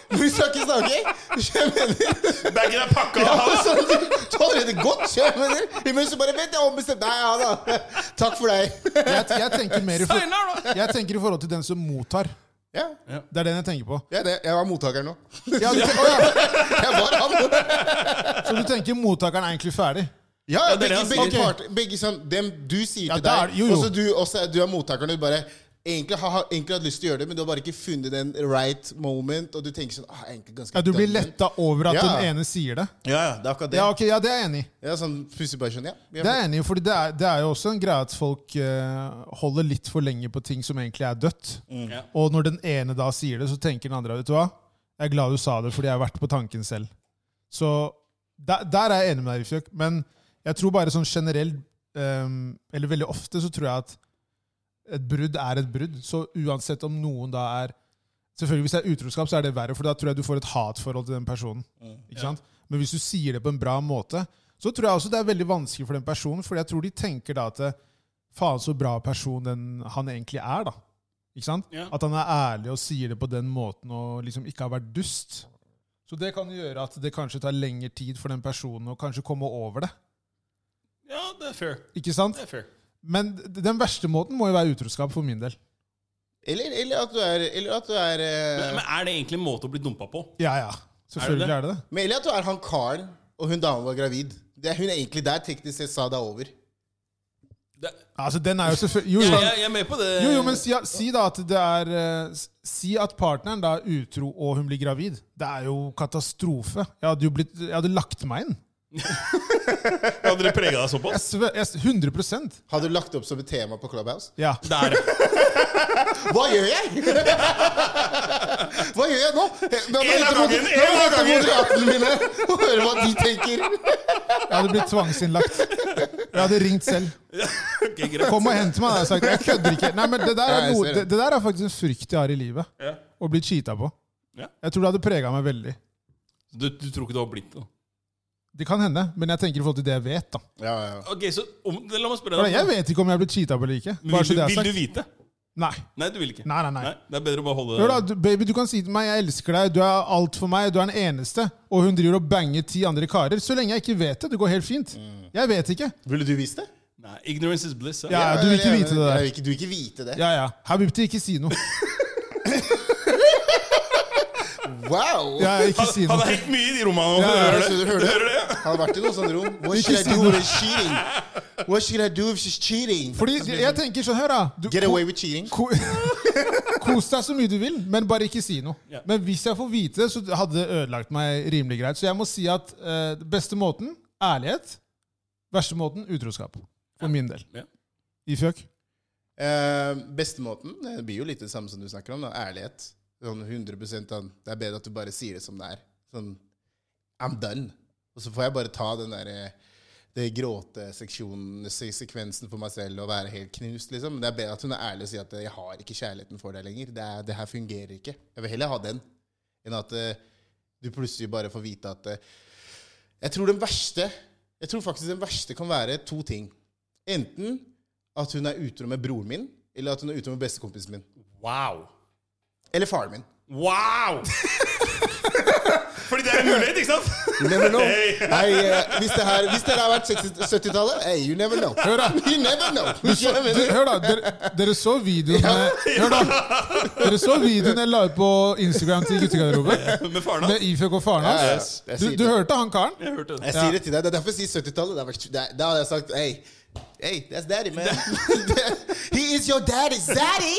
Men vi skal ikke snakke. Jeg mener
Bagen er pakka!
altså, du, du har allerede gått, jeg mener. Imens så bare Vent, jeg har ombestemt meg. Ja da. Takk for deg.
Jeg, jeg, tenker mer i for,
Steinar, da!
jeg tenker i forhold til den som mottar.
Ja,
Det er den jeg tenker på.
ja det, jeg var mottakeren nå.
Ja, du, å, ja.
Jeg var han.
Så du tenker mottakeren er egentlig ferdig?
Ja,
Ja, dere
begge,
har
begge
sagt-
parter. Begge sånn, dem du sier
Ja,
til
det er-
deg,
jo, jo.
og så du, også er- du er mottakeren. og Du bare egentlig har, har egentlig hatt lyst til å gjøre det, men du har bare ikke funnet den right moment. Og du tenker sånn ah, jeg er egentlig ganske
Ja, Du blir
dum, men-
letta over at
Ja.
den ene sier det?
Ja, ja, det er akkurat det.
Ja,
Ja,
ok, ja, det er jeg enig i.
sånn plutselig bare sånn, ja. ja.
Det er jeg enig i, fordi det er, det er jo også en greie at folk eh, holder litt for lenge på ting som egentlig er dødt.
Ja.
Og når den ene da sier det, så tenker den andre vet du hva? Jeg er glad du sa det, fordi jeg har vært på tanken selv. Så der, der er jeg enig med deg, Rifjøk. Men jeg tror bare sånn generelt, ehm, eller veldig ofte, så tror jeg at et brudd er et brudd. Så uansett om noen da er Selvfølgelig Hvis det er utroskap, så er det verre, for da tror jeg du får et hatforhold til den personen. Ikke sant? Men hvis du sier det på en bra måte, så tror jeg også det er veldig vanskelig for den personen, for jeg tror de tenker da at eh, faen så bra person den, han egentlig er, da. Ikke sant?
Ja.
At han er ærlig og sier det på den måten og liksom ikke har vært dust. Så det kan gjøre at det kanskje tar lengre tid for den personen å kanskje komme over det.
ja, det er fair.
Ikke sant?
Det er fair.
Men d- den verste måten må jo være utroskap for min del.
Eller, eller at du er, eller at du er eh,
Men, men er det egentlig en måte å bli dumpa på?
Ja, ja. Selvfølgelig
det?
er det det.
Men eller at du er han karen, og hun damen var gravid. Det er hun er egentlig der teknisk sett sa det er over.
Det,
Altså, den er jo selvfølgelig jo,
jeg,
jo.
jeg, jeg er med på det.
Jo, jo, men si, at- si da at det er eh, s- Si at partneren da er utro og hun blir gravid. Det er jo katastrofe. Jeg hadde jo blitt, jeg hadde lagt meg inn.
Hadde dere prega deg
Jeg
såpass?
sver, jeg, s- 100
Hadde du lagt det opp som et tema på Clubhouse?
Ja.
Der.
Hva gjør jeg?! Hva gjør jeg nå?! Nå må jeg
En av
ut mot-
gangen,
nå må jeg
en av
ut mot
gangen.
Moderatene mine og høre hva de tenker.
Jeg hadde blitt tvangsinnlagt. Jeg hadde ringt selv.
Ok, greit.
Kom og hent meg, hadde jeg sagt. Jeg kødder ikke. Nei, men det der,
Nei,
er
jeg
noe,
ser
det,
det.
det der er faktisk en frykt jeg har i livet.
Ja.
Å bli cheata på.
Ja.
Jeg tror det hadde prega meg veldig.
Du, du tror ikke du har blitt det? da?
Det kan hende, men jeg tenker i forhold til det jeg vet. da.
Ja, ja.
Ok, så om, La meg spørre
For
deg.
Jeg vet ikke om jeg har blitt cheata på eller ikke.
Men
Bare
Vil,
så
du-
det er
vil du
sagt.
vite?
Nei.
Nei, du vil ikke.
Nei, nei, nei.
Det er bedre å bare holde
Hør da, du, baby, du kan si til meg 'jeg elsker deg', 'du er alt for meg', 'du er den eneste', og hun driver og banger ti andre karer. Så lenge jeg ikke vet det. Det går helt fint. Jeg vet ikke.
Ville du vist det?
Nei, Ignorance is bliss.
Ja, ja, du vil ikke
Mm. Ja,
vite det
ja,
der.
Du vil ikke, du vil ikke vite det.
Ja, ja. Habibti, ikke si noe.
Wow!
Ja, ikke si
Han
noe.
er helt mye i de rommene nå.
Ja, ja,
hører
så
det.
du hører det.
hører det? ja.
Han har vært i noe sånt rom. What should I do when she's cheating? What should I do if she's cheating?
Fordi jeg tenker sånn, hør da. Du,
Get away with cheating.
ko, kos deg så mye du vil, men bare ikke si noe.
Ja.
Men hvis jeg får vite det, så hadde det ødelagt meg rimelig greit. Så jeg må si at eh, beste måten ærlighet. Verste måten utroskap. For min del.
Ja.
I fjøk.
Eh, Bestemåten det blir jo litt det samme som du snakker om. Da. Ærlighet. Sånn 100 av, Det er bedre at du bare sier det som det er. Sånn I'm done. Og så får jeg bare ta den der eh, det gråteseksjonen, se- sekvensen for meg selv og være helt knust, liksom. Men det er bedre at hun er ærlig og sier at eh, 'jeg har ikke kjærligheten for deg lenger'. Det, er, det her fungerer ikke. Jeg vil heller ha den enn at eh, du plutselig bare får vite at eh, Jeg tror den verste Jeg tror faktisk den verste kan være to ting. Enten at hun er utro med broren min, eller at hun er utro med bestekompisen min.
Wow!
Eller faren min.
Wow! Fordi det er en mulighet, ikke sant?
You never know.
Hey.
Nei, eh, hvis, det her, hvis dere har vært 60 70-tallet hey, You never know. Hør da. You never know. Skjønner
Du,
du?
hør da, dere, dere så videoen jeg- Hør da Dere så videoen jeg la ut på Instagram til guttegarderoben
Med faren
med
hans.
Iføk og faren
Ja, ja,
hans.
ja. Jeg
Du,
sier
du
det.
hørte han karen?
Jeg hørte det.
Jeg sier det til deg. Det er derfor jeg sier 70-tallet. Det er vært- det er- Da hadde jeg sagt hey, hey, that's daddy, man. He is your daddy. Zaddy!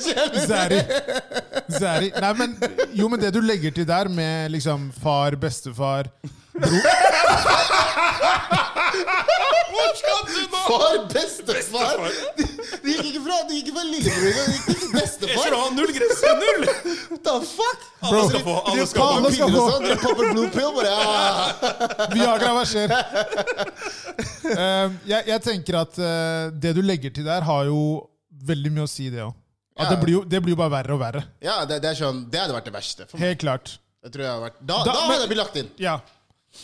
Zæri. Zæri. Nei, men, jo, men det du legger til der med liksom far, bestefar
Far, bestefar. Det det gikk ikke fra, det gikk ikke fra lillebror engang. Det gikk til
Jeg skal
bestefar.
ha null grenser! Null!
What the fuck?
Alle skal få, alle skal
Faen,
få.
nå skal
Piller og
få-
sånn, dere popper blue pill, bare. ah.
Viagra, hva skjer? Um, jeg, jeg tenker at eh, det du legger til der, har jo veldig mye å si, det òg.
Ja.
Det, blir jo- det blir jo bare verre og verre.
Ja, det, det er sånn Det hadde vært det verste. For meg.
Helt klart.
Jeg tror jeg hadde vært,
Da-
da, da,
men-
hadde jeg blitt lagt inn.
Ja.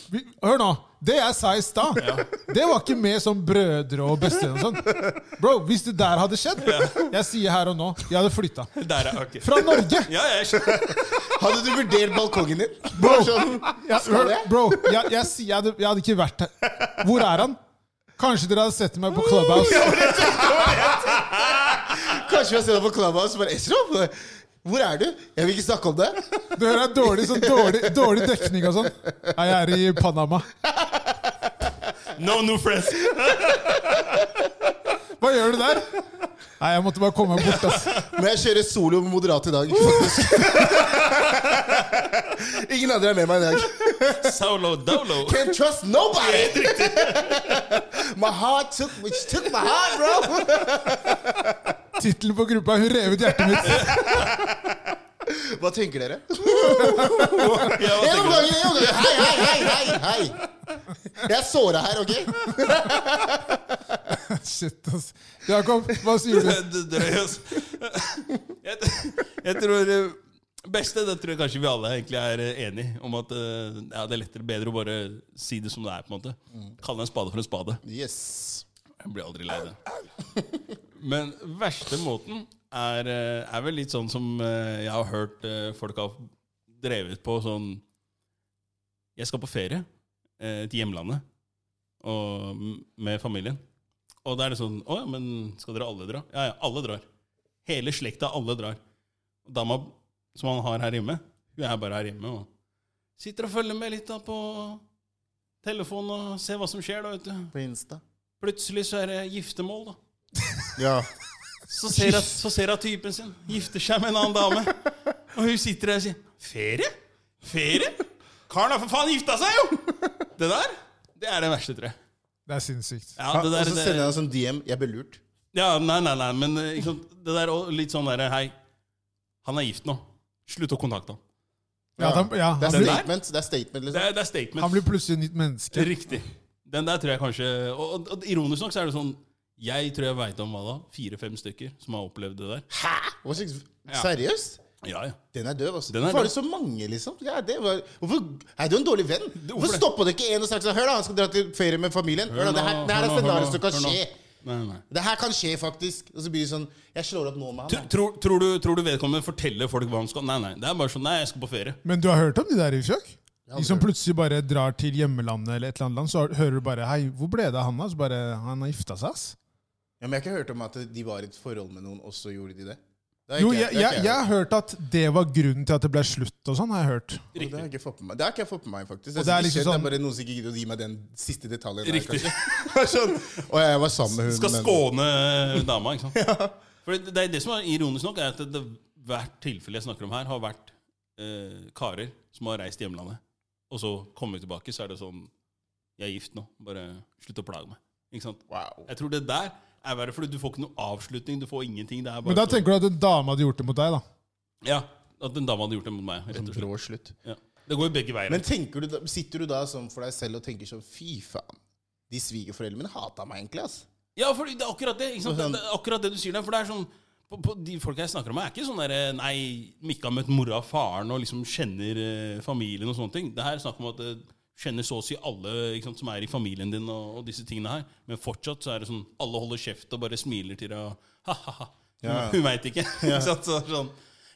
Vi, hør nå. Det jeg sa i stad, det var ikke med som brødre og bestevenner og sånn. Bro, hvis det der hadde skjedd Jeg sier her og nå, jeg hadde flytta.
Der er ok.
Fra Norge!
Ja, jeg skjønner.
Hadde du vurdert balkongen din? Bare sånn,
Jeg,
skal
hør,
jeg?
bro, jeg, jeg, sier- jeg, hadde, jeg hadde ikke vært her. Hvor er han? Kanskje dere hadde sett meg på Clubhouse?
Kanskje vi har sett deg på Clubhouse og bare Esrom, hvor er du? Jeg vil ikke snakke om det.
Du hører det er dårlig, sånn, dårlig, dårlig dekning og sånn. Nei, Jeg er i Panama.
No new friends.
Hva gjør du der? Nei, jeg måtte bare komme meg bort. ass.
Men jeg kjører solo med moderat i dag. faktisk. Ingen andre er med meg i dag.
Solo dolo.
Can't trust nobody! My heart took, which took my heart, bro!
Tittelen på gruppa er 'Hun rev ut hjertet mitt'.
Hva tenker dere?
Ja, hva
En
tenker du?
omgang, en omgang. Hei, hei, hei, hei, hei! Jeg er såra her, OK?
Shit, ass. Jakob, hva sier du?
Det drøy, altså. Jeg, jeg tror eh, beste, det tror jeg kanskje vi alle egentlig er eh, enig om at eh, ja, det er lettere bedre å bare si det som det er. på en måte. Kalle en spade for en spade.
Yes.
Jeg blir aldri lei det. Men verste måten er, eh, er vel litt sånn som eh, jeg har hørt eh, folk har drevet på sånn Jeg skal på ferie eh, til hjemlandet og m- med familien. Og da er det sånn Å ja, men skal dere alle dra? Ja ja, alle drar. Hele slekta, alle drar. Og dama som han har her hjemme, hun er bare her hjemme og sitter og følger med litt da på telefonen og ser hva som skjer, da, vet du.
På Insta.
Plutselig så er det giftermål, da.
Ja.
Så ser, jeg, så ser jeg typen sin gifter seg med en annen dame. Og hun sitter der og sier 'Ferie? Ferie?' Karen har for faen gifta seg, jo! Det der, det er det verste, tror jeg.
Det er sinnssykt.
Ja, det
Og så
der,
sender jeg
det,
deg en sånn DM. Jeg ble lurt.
ja, nei, nei, nei, men eh, ikke sant, det der og litt sånn derre Hei, han er gift nå. Slutt å kontakte han.
Ja, da- ja,
det
han,
er
blir-
blir,
statement. Det er statement
Det
liksom.
er, det er statement.
han blir plutselig et nytt menneske.
Riktig. Den der tror jeg kanskje Og, og, og ironisk nok så er det sånn Jeg tror jeg veit om hva da? Fire-fem stykker som har opplevd det der.
Hæ?! Hva slags Seriøst?
Ja, ja.
Den er døv, altså.
Den er
Hvorfor
døv.
er det så mange, liksom? Ja, det var, hvorfor, Nei, du er en dårlig venn. Hvorfor
det?
stoppa du ikke en og sa sånn Hør, da, han skal dra til ferie med familien. Hør da, Det her, det her
Hør nå,
er
hør nå,
scenarioet som kan
hør nå.
skje.
Nei, nei.
Det her kan skje, faktisk. Og så blir det sånn Jeg slår opp nå med
Tro-
han.
Tror, tror, du, tror du vedkommende forteller folk hva han skal Nei, nei, det er bare sånn Nei, jeg skal på ferie.
Men du har hørt om de der i fjøk? De
aldri
som
hørt.
plutselig bare drar til hjemmelandet, eller et eller annet land, så hører du bare 'Hei, hvor ble det av han?' da?» Så bare 'Han har gifta seg', ass.
Ja, men jeg har ikke hørt om at de var i et forhold med noen, og så gjorde de det. Det har
Jo,
ikke
jeg,
det har
jeg,
ikke
jeg har hørt at det var grunnen til at det ble slutt og sånn, har jeg hørt.
Og Det har jeg ikke fått med meg, det har ikke jeg fått med meg faktisk.
Og
Det
det er
er,
liksom
det er
sånn-
bare noen som ikke gidder å gi meg den siste detaljen. der,
Riktig.
kanskje. sånn, og jeg var sammen med hun.
Skal
men-
skåne eh, dama, ikke sant. For det, det er det som er ironisk nok, er at det, hvert tilfelle jeg snakker om her, har vært eh, karer som har reist til hjemlandet, og så kommer tilbake, så er det sånn Jeg er gift nå. Bare slutt å plage meg. Ikke sant.
Wow.
Jeg tror det der er verre, fordi du får ikke noe avslutning, du får ingenting. Det er bare
Men da
sånn-
tenker du at en dame hadde gjort det mot deg, da.
Ja, at den dama hadde gjort det mot meg, rett og slett.
Brå slutt.
Ja. Det går jo begge veier.
Men tenker du, da- sitter du da sånn for deg selv og tenker sånn Fy faen, de svigerforeldrene mine hata meg egentlig, ass.
Ja, for det er akkurat det. Ikke sant?
Og
Det,
sånn-
det er akkurat det du sier der. For det er sånn på, på De folka jeg snakker om, er ikke sånn derre Nei, de ikke har møtt mora og faren og liksom kjenner eh, familien og sånne ting. Det her er snakk om at eh, kjenner så å si alle ikke sant, som er i familien din, og, og disse tingene her. Men fortsatt så er det sånn alle holder kjeft og bare smiler til deg. og Ha-ha-ha.
Ja.
Hun veit ikke. ikke sant? Så, sånn,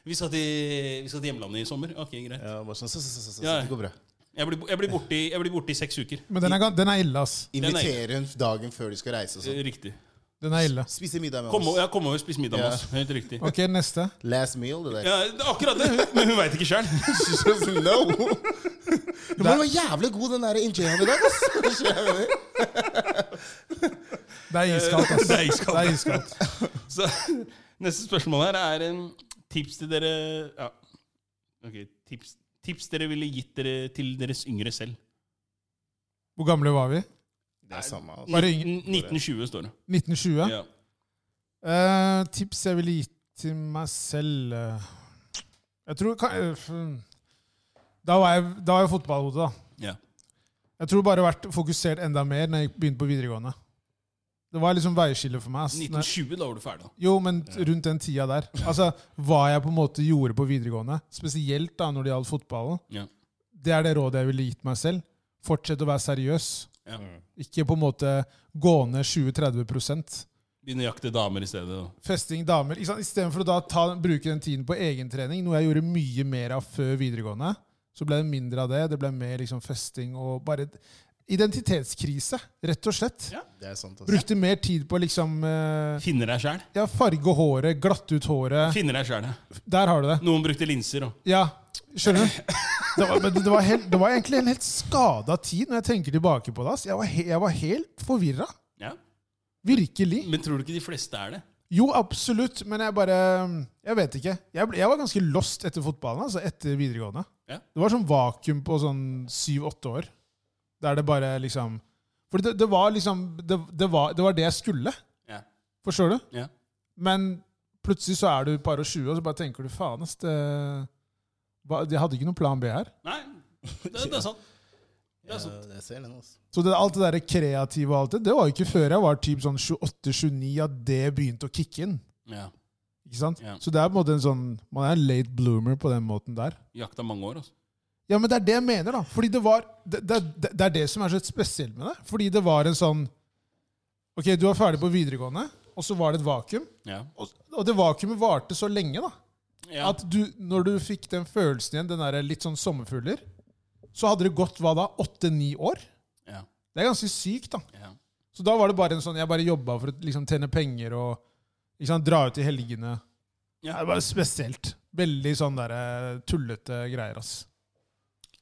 vi, skal til, vi skal til hjemlandet i sommer. Ok, greit.
Ja, bare sånn, så, så, så, så, så,
Ja.
Det går bra.
Jeg blir, jeg blir borte i- jeg blir borte i seks uker.
Men den er, gan- den er ille, ass.
Invitere hun dagen før de skal reise og sånn.
Riktig.
Den er ille.
Spise middag med
Kom, o-
oss.
ja, kom over og spis middag med
Ja.
oss. Helt riktig.
Ok, neste.
Last meal, det der.
Ja, det er akkurat det, hun- men hun veit ikke sjøl.
She doesn't know. Men Den var jævlig god, den der injeraen i dag. ass. Skjønner du?
Det er iskaldt, ass.
Det er iskaldt.
Det er iskaldt.
Så neste spørsmål her er en tips til dere ja. Ok, tips, tips dere ville gitt dere til deres yngre selv.
Hvor gamle var vi?
Det er samme. Altså.
Bare yngre.
N- 1920 står det.
1920?
Ja.
Eh, tips jeg ville gitt til meg selv eh, Jeg tror ka- eh, f- Da var jeg, da var jeg fotballhode, da.
Ja.
Jeg tror bare vært fokusert enda mer når jeg begynte på videregående. Det var liksom veiskille for meg. ass. Når-
1920, da var du ferdig. da.
Jo, men t- rundt den tida der. Altså, Hva jeg på en måte gjorde på videregående, spesielt da når det gjaldt fotballen,
Ja.
det er det rådet jeg ville gitt meg selv. Fortsett å være seriøs.
Ja.
Mm. Ikke på en måte gå ned 20-30
Begynne å jakte damer i stedet. da.
Festing, damer ikke sant? Istedenfor å da ta, bruke den tiden på egentrening, noe jeg gjorde mye mer av før videregående, så ble det mindre av det. Det ble mer liksom festing og bare Identitetskrise, rett og slett.
Ja.
Det er sant, altså.
Brukte mer tid på liksom eh,
Finne deg sjæl.
Ja, farge håret, glatte ut håret.
Finne deg sjæl, ja.
Der har du det.
Noen brukte linser. Og.
Ja, skjønner du? Det var, men det var, helt, det var egentlig en helt skada tid når jeg tenker tilbake på det. ass. Jeg var, he, jeg var helt forvirra.
Ja.
Virkelig.
Men tror du ikke de fleste er det?
Jo, absolutt, men jeg bare Jeg vet ikke. Jeg, ble, jeg var ganske lost etter fotballen, altså etter videregående.
Ja.
Det var sånn vakuum på sånn syv-åtte år. Der det bare liksom For det, det var liksom det, det, var, det var det jeg skulle.
Ja.
Forstår du?
Ja.
Men plutselig så er du et par og 20, og så bare tenker du faen, ass det, hva- Jeg hadde ikke noen plan B her.
Nei, det, det er sant. Det
Ja,
er sant.
jeg ser den, altså.
Så det, alt det der kreative og alt det, det var jo ikke før jeg var typ sånn 28-29 at det begynte å kicke inn.
Ja.
Ikke sant?
Ja.
Så det er på en måte en sånn Man er en late bloomer på den måten der.
Jakta mange år, altså.
Ja, men det er det jeg mener, da. Fordi det var Det, det, det, det er det som er så spesielt med det. Fordi det var en sånn Ok, du var ferdig på videregående, og så var det et vakuum.
Ja.
Og, og det vakuumet varte så lenge, da.
Ja.
At du, når du fikk den følelsen igjen, den der litt sånn sommerfugler, så hadde det gått hva da? Åtte-ni år?
Ja.
Det er ganske sykt, da.
Ja.
Så da var det bare en sånn Jeg bare jobba for å liksom, tjene penger og ikke sant, dra ut i helgene.
Ja.
Det var spesielt. Veldig sånn der, eh, tullete greier. ass.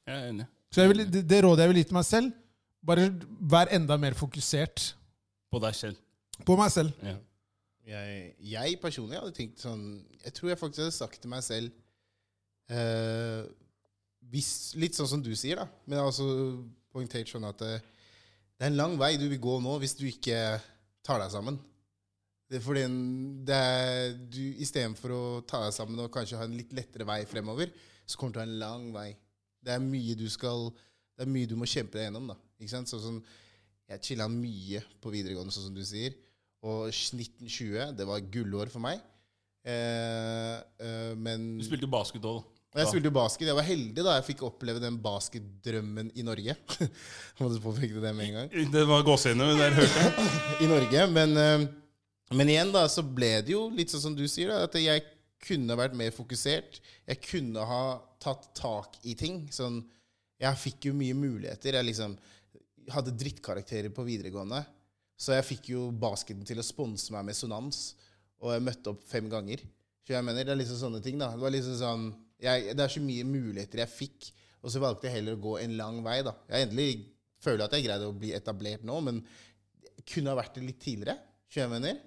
Jeg er enig.
Så jeg vil, det, det rådet jeg vil gi til meg selv, bare vær enda mer fokusert
På deg selv.
på meg selv.
Ja.
Jeg, jeg personlig hadde tenkt sånn Jeg tror jeg faktisk hadde sagt til meg selv eh, hvis, Litt sånn som du sier, da. Men jeg har også poengtert sånn at eh, det er en lang vei du vil gå nå hvis du ikke tar deg sammen. Det er fordi en- det er, du Istedenfor å ta deg sammen og kanskje ha en litt lettere vei fremover, så kommer du til å ha en lang vei. Det er mye du skal Det er mye du må kjempe deg gjennom. da Ikke sant? Sånn som Jeg chilla mye på videregående, sånn som du sier. Og 1920, det var gullår for meg. Eh, eh, men
Du spilte jo basketball.
og jeg spilte jo basket. Jeg var heldig da jeg fikk oppleve den basketdrømmen i Norge. Måtte påpeke det med en gang.
Det var gåsehudene men der hørte jeg.
I Norge, men, eh, men igjen da, så ble det jo litt sånn som du sier, da, at jeg kunne vært mer fokusert. Jeg kunne ha tatt tak i ting. Sånn, jeg fikk jo mye muligheter. Jeg liksom hadde drittkarakterer på videregående, så jeg fikk jo basketen til å sponse meg med sonans, og jeg møtte opp fem ganger. Så jeg mener, det er liksom sånne ting da. Det var liksom sånn, jeg, det er så mye muligheter jeg fikk, og så valgte jeg heller å gå en lang vei da. Jeg endelig føler at jeg greide å bli etablert nå, men kunne ha vært det litt tidligere. skjønner du hva jeg mener.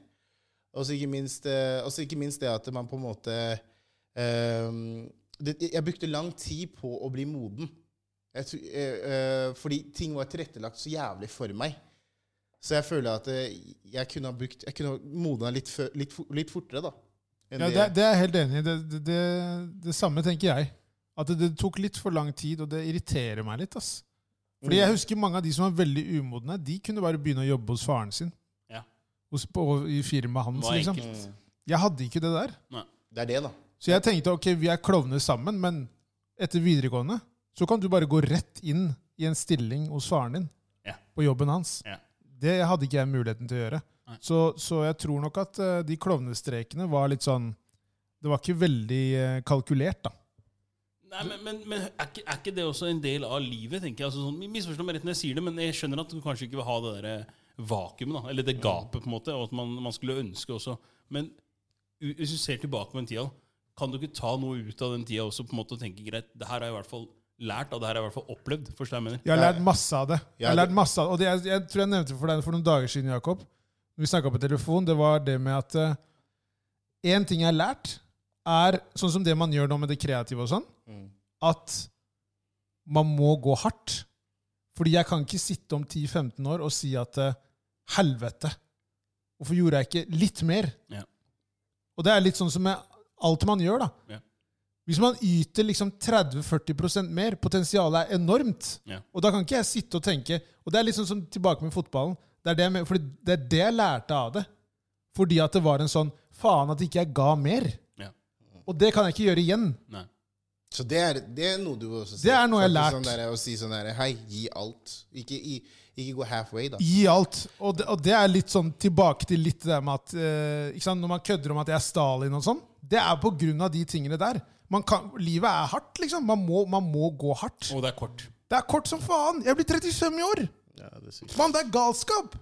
Og så ikke, minst, eh, og så ikke minst det at man på en måte eh, det, Jeg brukte lang tid på å bli moden. Jeg, tror- eh, eh, fordi ting var tilrettelagt så jævlig for meg. Så jeg føler at eh, jeg kunne ha brukt Jeg kunne ha modna litt, før- litt, fo- litt fortere, da. enn
Ja,
det-
det, det er jeg helt enig i. Det, det, det, det samme tenker jeg. At det, det tok litt for lang tid, og det irriterer meg litt. ass. Fordi
Mm.
jeg husker mange av de som var veldig umodne, de kunne bare begynne å jobbe hos faren sin.
Ja.
Hos, på, I firmaet hans,
Var
liksom.
enkelt.
Jeg hadde ikke det der.
Mm, det er det, da.
Så jeg tenkte ok, vi er klovner sammen, men etter videregående så kan du bare gå rett inn i en stilling hos faren din,
Ja.
på jobben hans.
Ja.
Det hadde ikke jeg muligheten til å gjøre.
Nei.
Så, så jeg tror nok at eh, de klovnestrekene var litt sånn Det var ikke veldig eh, kalkulert, da.
Nei, men, men, men er, ikke, er ikke det også en del av livet, tenker jeg? Altså, sånn, Misforstå meg rett når jeg sier det, men jeg skjønner at du kanskje ikke vil ha det der eh, vakuumet, da, eller det gapet, på en måte, og at man, man skulle ønske også. Men u- hvis du ser tilbake på den tida, kan du ikke ta noe ut av den tida også på en måte og tenke greit, det her har jeg i hvert fall lært, og det her har jeg i hvert fall opplevd? Forstår du hva jeg mener?
Jeg har lært masse av det. Jeg har
Ja,
lært masse av det. Og det, jeg, jeg tror jeg nevnte for deg for noen dager siden, Jakob. Vi snakka på telefon. Det var det med at én ting jeg har lært, er sånn som det man gjør nå med det kreative og sånn,
Mm.
at man må gå hardt. Fordi jeg kan ikke sitte om 10-15 år og si at eh, helvete, hvorfor gjorde jeg ikke litt mer?
Ja.
Og det er litt sånn som med alt man gjør, da.
Ja.
Hvis man yter liksom 30-40 mer, potensialet er enormt.
Ja.
Og da kan ikke jeg sitte og tenke Og det er litt sånn som tilbake med fotballen. Det er det, jeg men- fordi det, er det jeg lærte av det. Fordi at det var en sånn Faen at ikke jeg ga mer.
Ja.
Og det kan jeg ikke gjøre igjen.
Nei.
Så det er, det er noe du også
Det er noe jeg
Faktisk
har lært.
Sånn der, å si sånn der, Hei, gi alt. Ikke, i, ikke gå halfway, da.
Gi alt. Og det, og det er litt sånn tilbake til litt det der med at eh, ikke sant? Når man kødder om at jeg er Stalin og sånn, det er på grunn av de tingene der. Man kan, livet er hardt, liksom. Man må, man må gå hardt.
Og det er kort.
Det er kort som faen! Jeg blir 35 i år!
Ja, det er
Mann, det er galskap!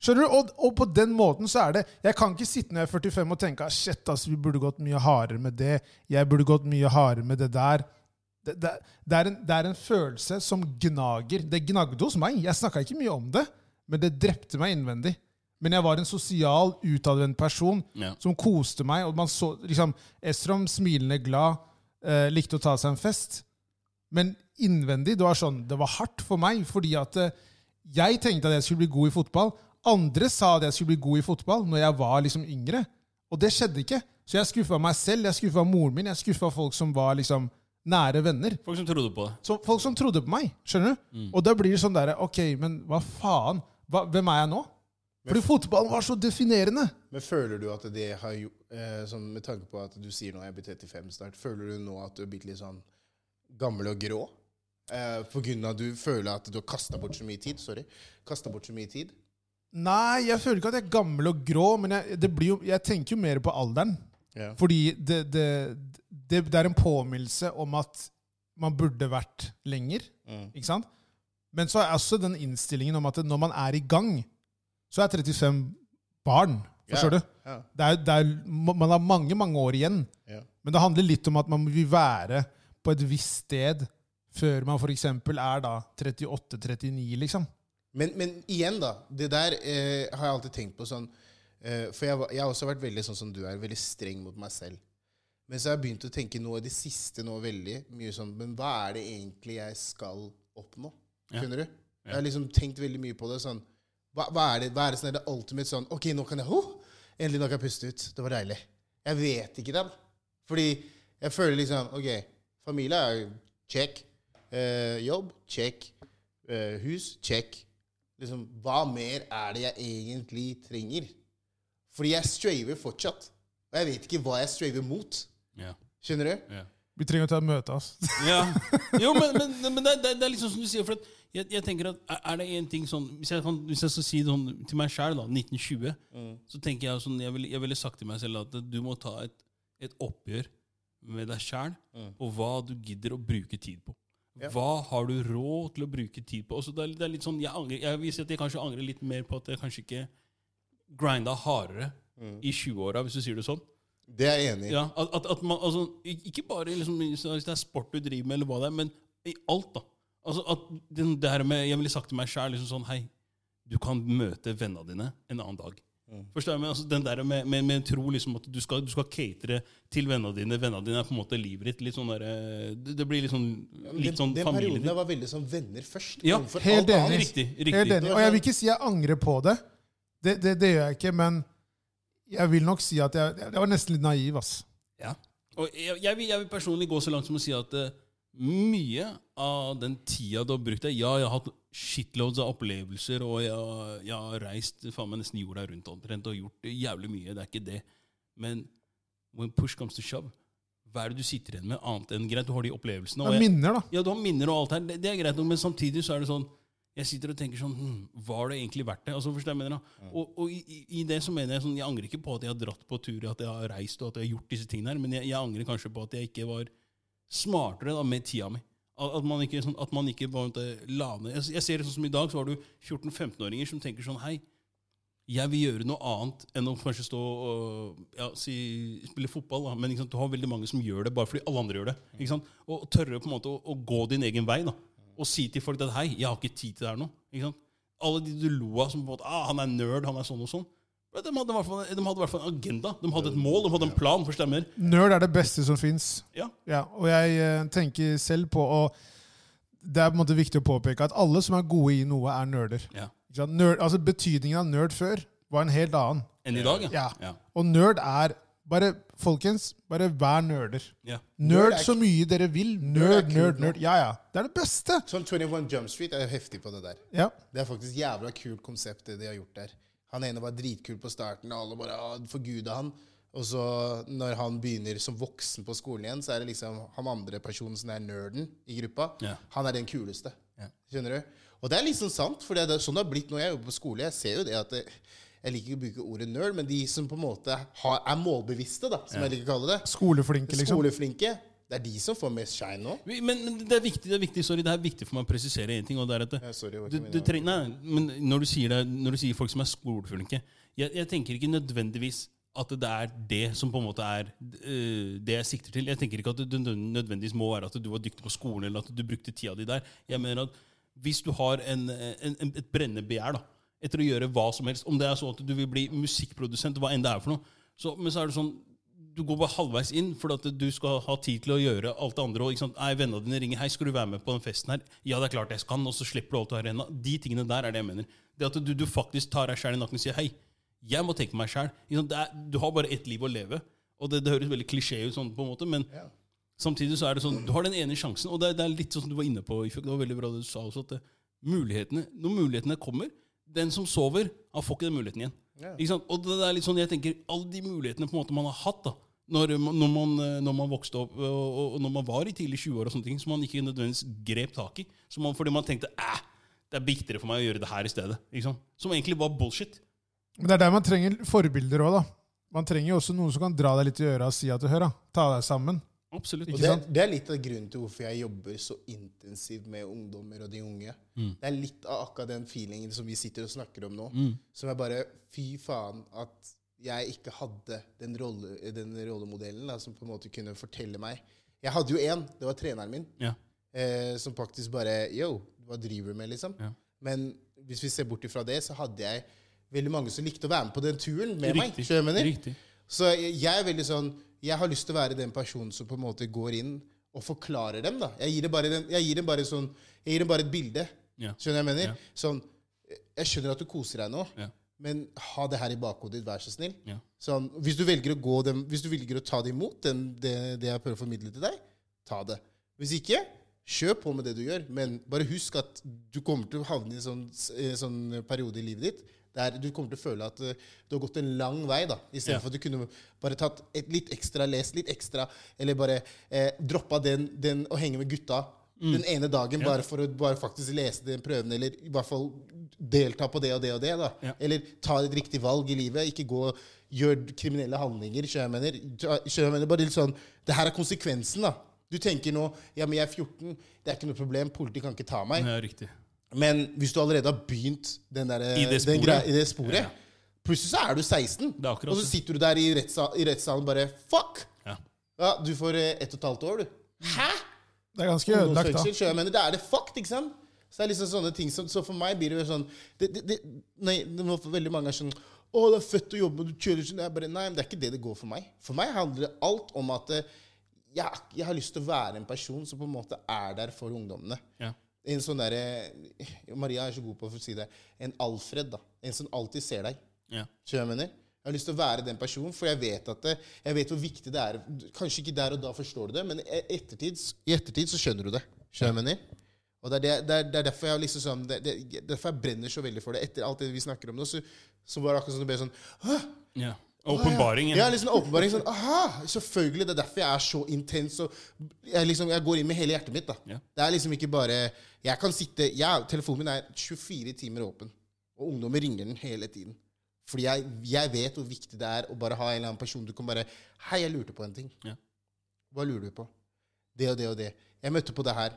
Skjønner du? Og, og på den måten så er det Jeg kan ikke sitte når jeg er 45 og tenke «Ah, Shit, ass, vi burde gått mye hardere med det. Jeg burde gått mye hardere med det der. Det, det, det, er en, det er en følelse som gnager. Det gnagde hos meg. Jeg snakka ikke mye om det, men det drepte meg innvendig. Men jeg var en sosial, utadvendt person
Ja.
som koste meg. Og man så liksom Estrom smilende glad, eh, likte å ta seg en fest. Men innvendig, det var sånn, det var hardt for meg, fordi at eh, jeg tenkte at jeg skulle bli god i fotball. Andre sa at jeg skulle bli god i fotball når jeg var liksom yngre. Og det skjedde ikke. Så jeg skuffa meg selv, jeg skuffa moren min, jeg skuffa folk som var liksom nære venner.
Folk som trodde på det.
Så folk som trodde på meg. skjønner du? Og da blir det sånn derre Ok, men hva faen? Hva, hvem er jeg nå? Fordi fotballen var så definerende.
Men føler du at det har gjort eh, sånn Med tanke på at du sier nå jeg blir 35 snart, føler du nå at du er blitt litt sånn gammel og grå? Eh, på grunn av at du føler at du har kasta bort så mye tid? Sorry. Kastet bort så mye tid?
Nei, jeg føler ikke at jeg er gammel og grå, men jeg, det blir jo, jeg tenker jo mer på alderen.
Ja.
Fordi det, det, det, det er en påminnelse om at man burde vært lenger. Ikke sant? Men så er også den innstillingen om at når man er i gang, så er 35 barn. Forstår du?
Ja.
Det er, det er, man har mange, mange år igjen.
Ja.
Men det handler litt om at man vil være på et visst sted før man f.eks. er da 38-39, liksom.
Men, men igjen, da. Det der eh, har jeg alltid tenkt på sånn eh, For jeg, var- jeg har også vært veldig sånn som du er, veldig streng mot meg selv. Men så har jeg begynt å tenke nå i det siste nå veldig mye sånn Men hva er det egentlig jeg skal oppnå?
Ja.
Skjønner du? Jeg har liksom tenkt veldig mye på det. sånn Hva, hva er det hva er det som er det ultimate sånn OK, nå kan jeg oh, Endelig nå kan jeg puste ut. Det var deilig. Jeg vet ikke det. Fordi jeg føler liksom OK, familie er check. Eh, jobb check. Eh, hus check. Liksom, hva mer er det jeg egentlig trenger? Fordi jeg straver fortsatt. Og jeg vet ikke hva jeg straver mot.
Ja.
Skjønner du?
ja.
Vi trenger å ta et møte, ass.
Ja. Jo, men, men, men det, det, det er liksom som du sier, for at jeg, jeg tenker at er- er det en ting sånn Hvis jeg, kan, hvis jeg skal si det sånn til meg sjæl, da, 1920, så tenker jeg sånn jeg ville, jeg ville sagt til meg selv at du må ta et, et oppgjør med deg sjæl og hva du gidder å bruke tid på. Hva har du råd til å bruke tid på? Også det, er, det er litt sånn, jeg, angrer, jeg vil si at jeg kanskje angrer litt mer på at jeg kanskje ikke grinda hardere i 20-åra, hvis du sier det sånn.
Det er jeg enig i.
Ja, at, at, at man, altså, ik- ikke bare liksom, i- så hvis det er sport du driver med, eller hva det er, men i alt, da. Altså, at den, det her med, Jeg ville sagt til meg sjæl liksom sånn Hei, du kan møte vennene dine en annen dag.
Mm.
Forstår jeg, men altså, Den der med, med, med tro liksom at du skal, du skal catere til vennene dine. Vennene dine er på en måte livet ditt. litt sånn der, eh, det, det blir litt sånn, litt sånn
den, den
familie
perioden jeg var veldig sånn venner først.
Ja,
overfor
helt
alt annet.
enig.
Riktig.
Helt
riktig.
enig. Og jeg vil ikke si jeg angrer på det. Det, det, det gjør jeg ikke, men jeg vil nok si at jeg, jeg var nesten litt naiv, ass.
Ja. Og jeg, jeg, vil, jeg vil personlig gå så langt som å si at eh, mye av den tida du har brukt deg Ja, jeg har hatt shitloads av opplevelser, og jeg, har- jeg har reist faen meg nesten jorda rundt omtrent og gjort jævlig mye. Det er ikke det. Men when push comes to shove, hva er det du sitter igjen med, annet enn greit, du har de opplevelsene.
Det
Og
er
jeg,
minner, da.
ja, du har minner og alt her, det, det er greit, nok, men samtidig så er det sånn Jeg sitter og tenker sånn hm, Var det egentlig verdt det? Altså, forstår jeg hva jeg mener da? Og, og i, i- i det så mener jeg sånn Jeg angrer ikke på at jeg har dratt på tur, at jeg har reist og at jeg har gjort disse tingene her, men jeg, jeg angrer kanskje på at jeg ikke var smartere da med tida mi. At at man ikke, sånn, at man ikke på en måte la ned jeg, jeg ser det sånn som i dag, så har du 14-15-åringer som tenker sånn Hei, jeg vil gjøre noe annet enn å kanskje stå og ja, si, spille fotball. Da. Men ikke sant, du har veldig mange som gjør det bare fordi alle andre gjør det. Ikke sant? Og tørre på en måte å, å gå din egen vei. da. Og si til folk at 'hei, jeg har ikke tid til det her nå'. Ikke sant? Alle de du lo av som på en måte, ah, 'han er nerd', 'han er sånn og sånn'. Men De hadde, i hvert fall, de hadde i hvert fall en agenda. De hadde et mål, de hadde en plan for stemmer.
Nerd er det beste som fins.
Ja.
Ja, og jeg eh, tenker selv på å Det er på en måte viktig å påpeke at alle som er gode i noe, er nerder.
Ja.
Ikke sant? Nerd, altså Betydningen av nerd før var en helt annen.
Enn i dag,
Ja.
ja.
Og nerd er Bare, folkens, bare vær nerder.
ja.
Nerd
Nerd er
så mye dere vil.
er
Nerd,
kult
nerd,
nå.
nerd. Ja, ja. Det er det beste!
Sånn 21 Jump Street er heftig på det der.
Ja.
Det er faktisk jævla kult konsept, det de har gjort der. Han ene var dritkul på starten, og alle bare «Å, forguda han. Og så, når han begynner som voksen på skolen igjen, så er det liksom han andre personen som er nerden i gruppa.
Ja.
Han er den kuleste.
Ja.
Skjønner du? Og det er liksom sant, for det er sånn det har blitt når jeg jobber på skole. Jeg ser jo det at det, jeg liker ikke å bruke ordet nerd, men de som på en måte har, er målbevisste, da, som jeg liker å kalle det.
Skoleflinke, liksom.
Skoleflinke. Det er de som får mest shine nå.
Men, men det er viktig det er viktig, sorry, det er viktig for meg å presisere én ting. og det er at det,
Ja, sorry, det var ikke
du,
meningen.
du treng, nei, men når du, sier det, når du sier folk som er skoleflinke jeg, jeg tenker ikke nødvendigvis at det er det som på en måte er øh, det jeg sikter til. Jeg tenker ikke at det nødvendigvis må være at du var dyktig på skolen eller at du brukte tida di der. Jeg mener at Hvis du har en, en, en, et brennende begjær da, etter å gjøre hva som helst, om det er sånn at du vil bli musikkprodusent, hva enn det er for noe, så, men så er det sånn du går bare halvveis inn fordi at du skal ha tid til å gjøre alt det andre. Og ikke sant? Nei, vennene dine ringer 'Hei, skal du være med på den festen her?' 'Ja, det er klart jeg kan.' Og så slipper du alt du har i hendene. De tingene der er det jeg mener. Det at du, du faktisk tar deg sjæl i nakken og sier 'Hei, jeg må tenke på meg sjæl'. Du har bare ett liv å leve. Og det, det høres veldig klisjé ut, sånn på en måte, men samtidig så er det sånn du har den ene sjansen. Og det, er- det er litt sånn som du var inne på, Ifjok. Det var veldig bra det du sa også, at det, mulighetene, når mulighetene kommer Den som sover, han får ikke den muligheten igjen. Ikke sant? Og det det er litt sånn, jeg tenker, alle de mulighetene på en måte man har hatt da, når, man- når, man, eh, når man vokste opp, og, og, og når man var i tidlig 20-år, og sånne ting, som man ikke nødvendigvis grep tak i. Som man, fordi man tenkte æh, det er viktigere for meg å gjøre det her i stedet. Ikke sant? Som egentlig var bullshit.
Men det er der man trenger forbilder òg, da. Man trenger jo også noen som kan dra deg litt i øra og si at du hører, da. Ta deg sammen.
Absolutt.
Og
Ikke
det,
sant?
det er litt av grunnen til hvorfor jeg jobber så intensivt med ungdommer og de unge.
Mm.
Det er litt av akkurat den feelingen som vi sitter og snakker om nå.
Mm.
Som er bare fy faen at jeg ikke hadde den, rolle, den rollemodellen da, som på en måte kunne fortelle meg. Jeg hadde jo én, det var treneren min,
Ja.
eh, som faktisk bare Yo, hva driver du med, liksom?
Ja.
Men hvis vi ser bort ifra det, så hadde jeg veldig mange som likte å være med på den turen med meg.
Riktig.
skjønner du hva jeg mener?
Riktig.
Så jeg, jeg er veldig sånn Jeg har lyst til å være den personen som på en måte går inn og forklarer dem, da. Jeg gir dem bare, den, jeg gir dem bare, sånn, jeg gir dem bare et bilde.
Ja.
Skjønner du hva jeg
Ja.
mener? Sånn Jeg skjønner at du koser deg nå,
Ja.
men ha det her i bakhodet ditt, vær så snill.
Ja.
Sånn, hvis du velger å, gå dem, hvis du velger å ta det imot, den, det, det jeg prøver å formidle til deg, ta det. Hvis ikke, kjør på med det du gjør. Men bare husk at du kommer til å havne i en sånn, s- eh, sånn periode i livet ditt der du kommer til å føle at eh, du har gått en lang vei, da, istedenfor
Ja.
for at du kunne bare tatt et litt ekstra, lest litt ekstra, eller bare eh, droppa den, den å henge med gutta.
Mm.
Den ene dagen bare for å bare faktisk lese den prøven, eller i hvert fall delta på det og det og det. da.
Ja.
Eller ta et riktig valg i livet. Ikke gå og gjør kriminelle handlinger. skjønner jeg mener. Ta- skjønner jeg mener. Bare litt sånn, Det her er konsekvensen, da. Du tenker nå ja, men jeg er 14, det er ikke noe problem, politiet kan ikke ta meg.
Ja, riktig.
Men hvis du allerede har begynt den der,
I det
den
sporet.
grei- i det sporet plutselig så er du 16,
er akkurat
og så
det.
sitter du der i, rettssal, i rettssalen bare Fuck!
Ja.
Ja, du får eh, ett og et halvt år, du. Hæ?!
Det er ganske ødelagt, da.
Ungdomsfengsel, skjønner jeg mener, da er det fucked, ikke sant? Så det er liksom sånne ting som, så for meg blir det jo sånn det, det, det, nei, det må for veldig mange er sånn Å, det er fett å jobbe, du kjører sånn Jeg bare, Nei, men det er ikke det det går for meg. For meg handler det alt om at eh, jeg, jeg har lyst til å være en person som på en måte er der for ungdommene.
Ja.
En sånn derre Maria er så god på å si det. En Alfred, da. En som alltid ser deg.
Ja.
Skjønner du hva jeg mener? Jeg har lyst til å være den personen, for jeg vet, at det, jeg vet hvor viktig det er. Kanskje ikke der og da forstår du det, men i ettertid, i ettertid så skjønner du det. Skjønner du hva jeg mener? Og det er, det, det, er, det er derfor jeg liksom sånn, det, det, derfor jeg brenner så veldig for det. Etter alt det vi snakker om nå, så, så var det akkurat sånn, det ble sånn «Hå,
Ja. Åpenbaringen.
Ja, liksom åpenbaring. Sånn, aha, selvfølgelig. Det er derfor jeg er så intens. Og jeg, liksom, jeg går inn med hele hjertet mitt. da.
Ja.
Det er liksom ikke bare Jeg kan sitte jeg, Telefonen min er 24 timer åpen, og ungdommer ringer den hele tiden. Fordi jeg, jeg vet hvor viktig det er å bare ha en eller annen person du kan bare Hei, jeg lurte på en ting.
Ja.
Hva lurer du på? Det og det og det. Jeg møtte på det her.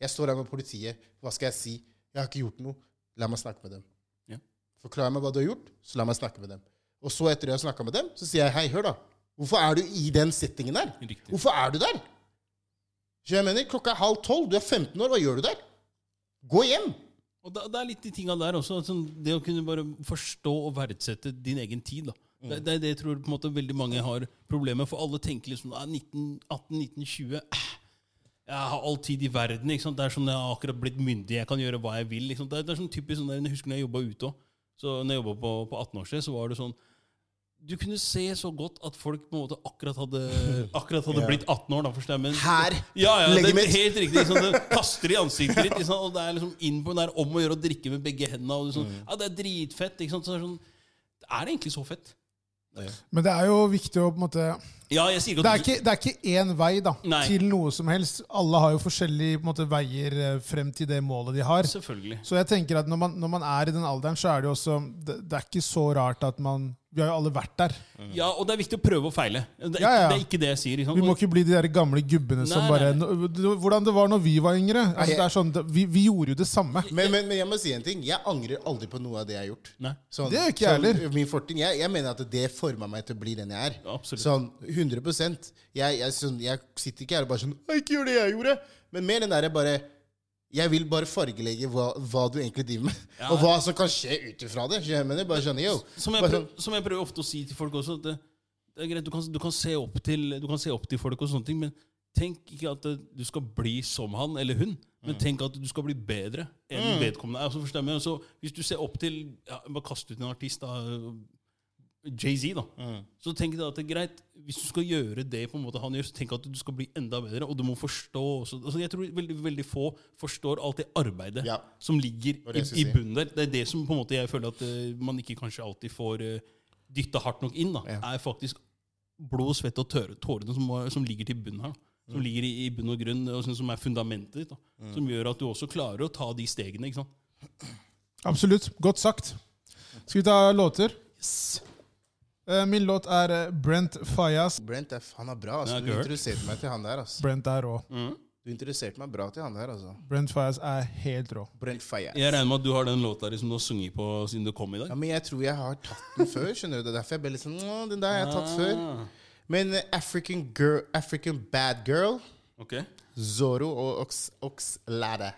Jeg står her med politiet. Hva skal jeg si? Jeg har ikke gjort noe. La meg snakke med dem.
Ja.
Forklar meg hva du har gjort, så la meg snakke med dem. Og så etter jeg har snakka med dem, så sier jeg hei, hør da. Hvorfor er du i den settingen der?
Riktig.
Hvorfor er du der? Så jeg mener, klokka er halv tolv, du er 15 år, hva gjør du der? Gå hjem!
Og da, det er litt de tinga der også. Altså, det å kunne bare forstå og verdsette din egen tid. da. Det, det er det jeg tror på en måte veldig mange har problemer med. For alle tenker liksom ah, 19, 18, 19, 20 eh, Jeg har all tid i verden. ikke sant? Det er sånn Jeg har akkurat blitt myndig, jeg kan gjøre hva jeg vil. Liksom. Det, er- det er sånn typisk sånn der, Jeg husker når jeg jobba ute òg. Når jeg jobba på, på 18-årsstedet, så var det sånn Du kunne se så godt at folk på en måte akkurat hadde, akkurat hadde blitt 18 år. da, forstår jeg, men
Her!
ja, ja, det er
Legemet.
helt riktig. Ikke sant? Det kaster i ansiktet ditt. Ikke sant? Og det er liksom inn på den der om å gjøre å drikke med begge hendene. Og det er sånn, ja, det er dritfett. Ikke sant? Så det er sånn, er det egentlig så fett?
Men det er jo viktig å på en måte
Ja, jeg sier
Det
ikke
er
at
ikke, det er ikke én vei da,
Nei.
til noe som helst. Alle har jo forskjellige på en måte, veier eh, frem til det målet de har.
Selvfølgelig.
Så jeg tenker at når man, når man er i den alderen, så er det jo også Det, det er ikke så rart at man Vi har jo alle vært der.
Ja, og det er viktig å prøve og feile. Det er ikke,
Ja, ja.
Det, er ikke det jeg sier. Ikke sant?
Vi må ikke bli de der gamle gubbene som
Nei,
bare
nei,
"Nå- d- Hvordan det var når vi var yngre. Altså,
jeg-
det er sånn, det, vi, vi gjorde jo det samme.
Men, men, men jeg må si en ting. Jeg angrer aldri på noe av det jeg har gjort.
Nei.
Sånn,
Det gjør ikke jeg
sånn,
heller.
Min fortid, jeg, jeg mener at det forma meg til å bli den jeg er.
Ja, absolutt.
Sånn 100 jeg, jeg, sånn, jeg sitter ikke her og bare sånn «Å, 'Ikke gjør det jeg gjorde', men mer den derre bare jeg vil bare fargelegge hva, hva du egentlig driver med,
Ja.
og hva som kan skje ut ifra det. Jeg mener, bare sånn, yo.
Som jeg,
bare
prøver,
sånn,
som jeg prøver ofte å si til folk også, at det, det er greit, du kan, du, kan se opp til, du kan se opp til folk og sånne ting, men tenk ikke at eh, du skal bli som han eller hun,
Mm.
men tenk at du skal bli bedre enn vedkommende er. Altså, forstår jeg meg? Så hvis du ser opp til ja, Bare kast ut en artist, da. Jay-Z, da.
sånn,
Så tenk deg at det er greit, hvis du skal gjøre det på en måte han gjør, så tenk at du skal bli enda bedre, og du må forstå også. Altså, jeg tror veldig, veldig få forstår alt det arbeidet
Ja.
som ligger
var
i,
det jeg
i
skulle si.
bunnen der. Det er det som på en måte jeg føler at eh, man ikke kanskje alltid får uh, dytta hardt nok inn. da, er faktisk blod, svette og tørre, tårene som, må- som ligger til bunnen her. da. Som
Mm.
ligger i, i bunn og grunn, og som som er fundamentet ditt. da, Som gjør at du også klarer å ta de stegene. ikke sant?
Absolutt. Godt sagt. Skal vi ta låter? Eh, Min låt er eh, Brent Fajas.
Brent, er- han er bra.
Jeg
Altså.
har
Du
ikke hørt.
introduserte meg til han der. Altså.
Brent er rå.
Du introduserte meg bra til han der, altså.
Brent Fajas er helt rå.
Brent Fayez.
Jeg regner med at du har den låta di som du har sunget på siden du kom i dag.
Ja, men jeg tror jeg har tatt den før. skjønner du? Det er derfor jeg ble litt sånn «Nå, Den der har jeg
Ah.
tatt før. Men eh, African, girl, African Bad Girl,
Ok.
Zorro og Ox, Oxlade.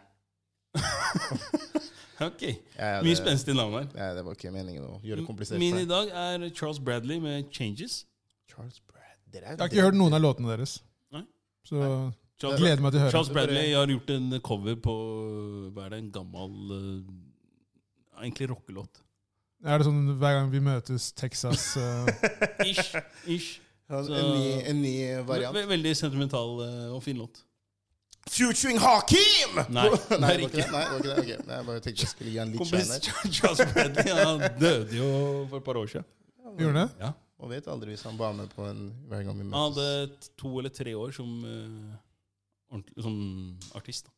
Ok.
Ja, ja,
Mye
det-
spenstig navn her.
Nei, det var ikke meningen å gjøre det komplisert.
Min
for
i
deg.
dag er Charles Bradley med 'Changes'.
Charles Brad. Dere
Jeg har ikke hørt noen av låtene deres.
Nei.
Så
Charles,
gleder meg til å høre.
Charles Bradley jeg har gjort en cover på Hva er det, en gammel eh, Egentlig rockelåt.
Er det sånn hver gang vi møtes Texas eh,
Ish. ish.
Han-
Så-
En, ny, en ny variant.
Ve- Veldig sentimental eh, og fin låt.
Futuring Hakim!
Nei, det
Nei, det var
er
ikke det.
ikke.
Nei, det var ikke det. Ok, Nei, jeg bare tenkte jeg skulle gi han litt shine
Kompis
her.
Charles Bradley han døde jo for et par år siden.
Gjorde det?
Ja.
Man vet aldri hvis han var med på en hver gang vi møtes.
Han eh, hadde t- to eller tre år som, eh, ordentlig, som artist. Da.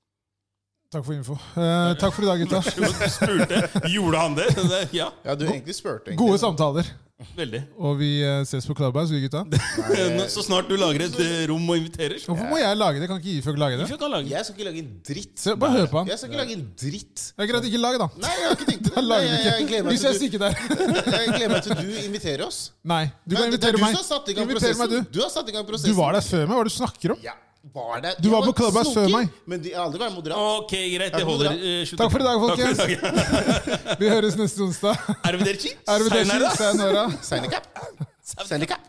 Takk for info. Eh, takk for i dag, gutta.
Du spurte gjorde han det? Det- Ja,
Ja, du egentlig spurte. egentlig.
Gode samtaler.
veldig.
Og vi eh, ses på Clubhouse, vi gutta.
Nå- Så snart du lager et eh, rom og inviterer, så
Hvorfor må jeg lage det? Kan ikke Ifjok lage det?
Ifjok kan lage det.
Jeg skal ikke lage en dritt.
Se, bare hør på han.
Jeg skal ikke lage en dritt.
Det er greit, ikke lag, da.
Nei, jeg har ikke tenkt
Da
det. Nei,
lager
jeg, jeg,
vi
gleder
ikke.
meg
Vi
til
ses
du-
ikke der.
Jeg gleder meg til du inviterer oss.
Nei, du kan
Nei, det er
invitere
du
meg.
som har satt i gang
Inviter
prosessen.
meg, du.
Du har satt i gang
Du
prosessen.
var der før meg. Hva er det du snakker om?
Ja, var der.
Du
Jeg
var på Clubhouse før
snoker,
meg.
Men de har aldri vært moderat.
Ok, greit. Det holder. Eh, slutt.
Takk for i dag,
for i
folkens.
dag.
Vi høres neste onsdag.
Arrivederci.
Arvideci,
Sayonara.
sayonara.
Sign a cap. Sign a cap.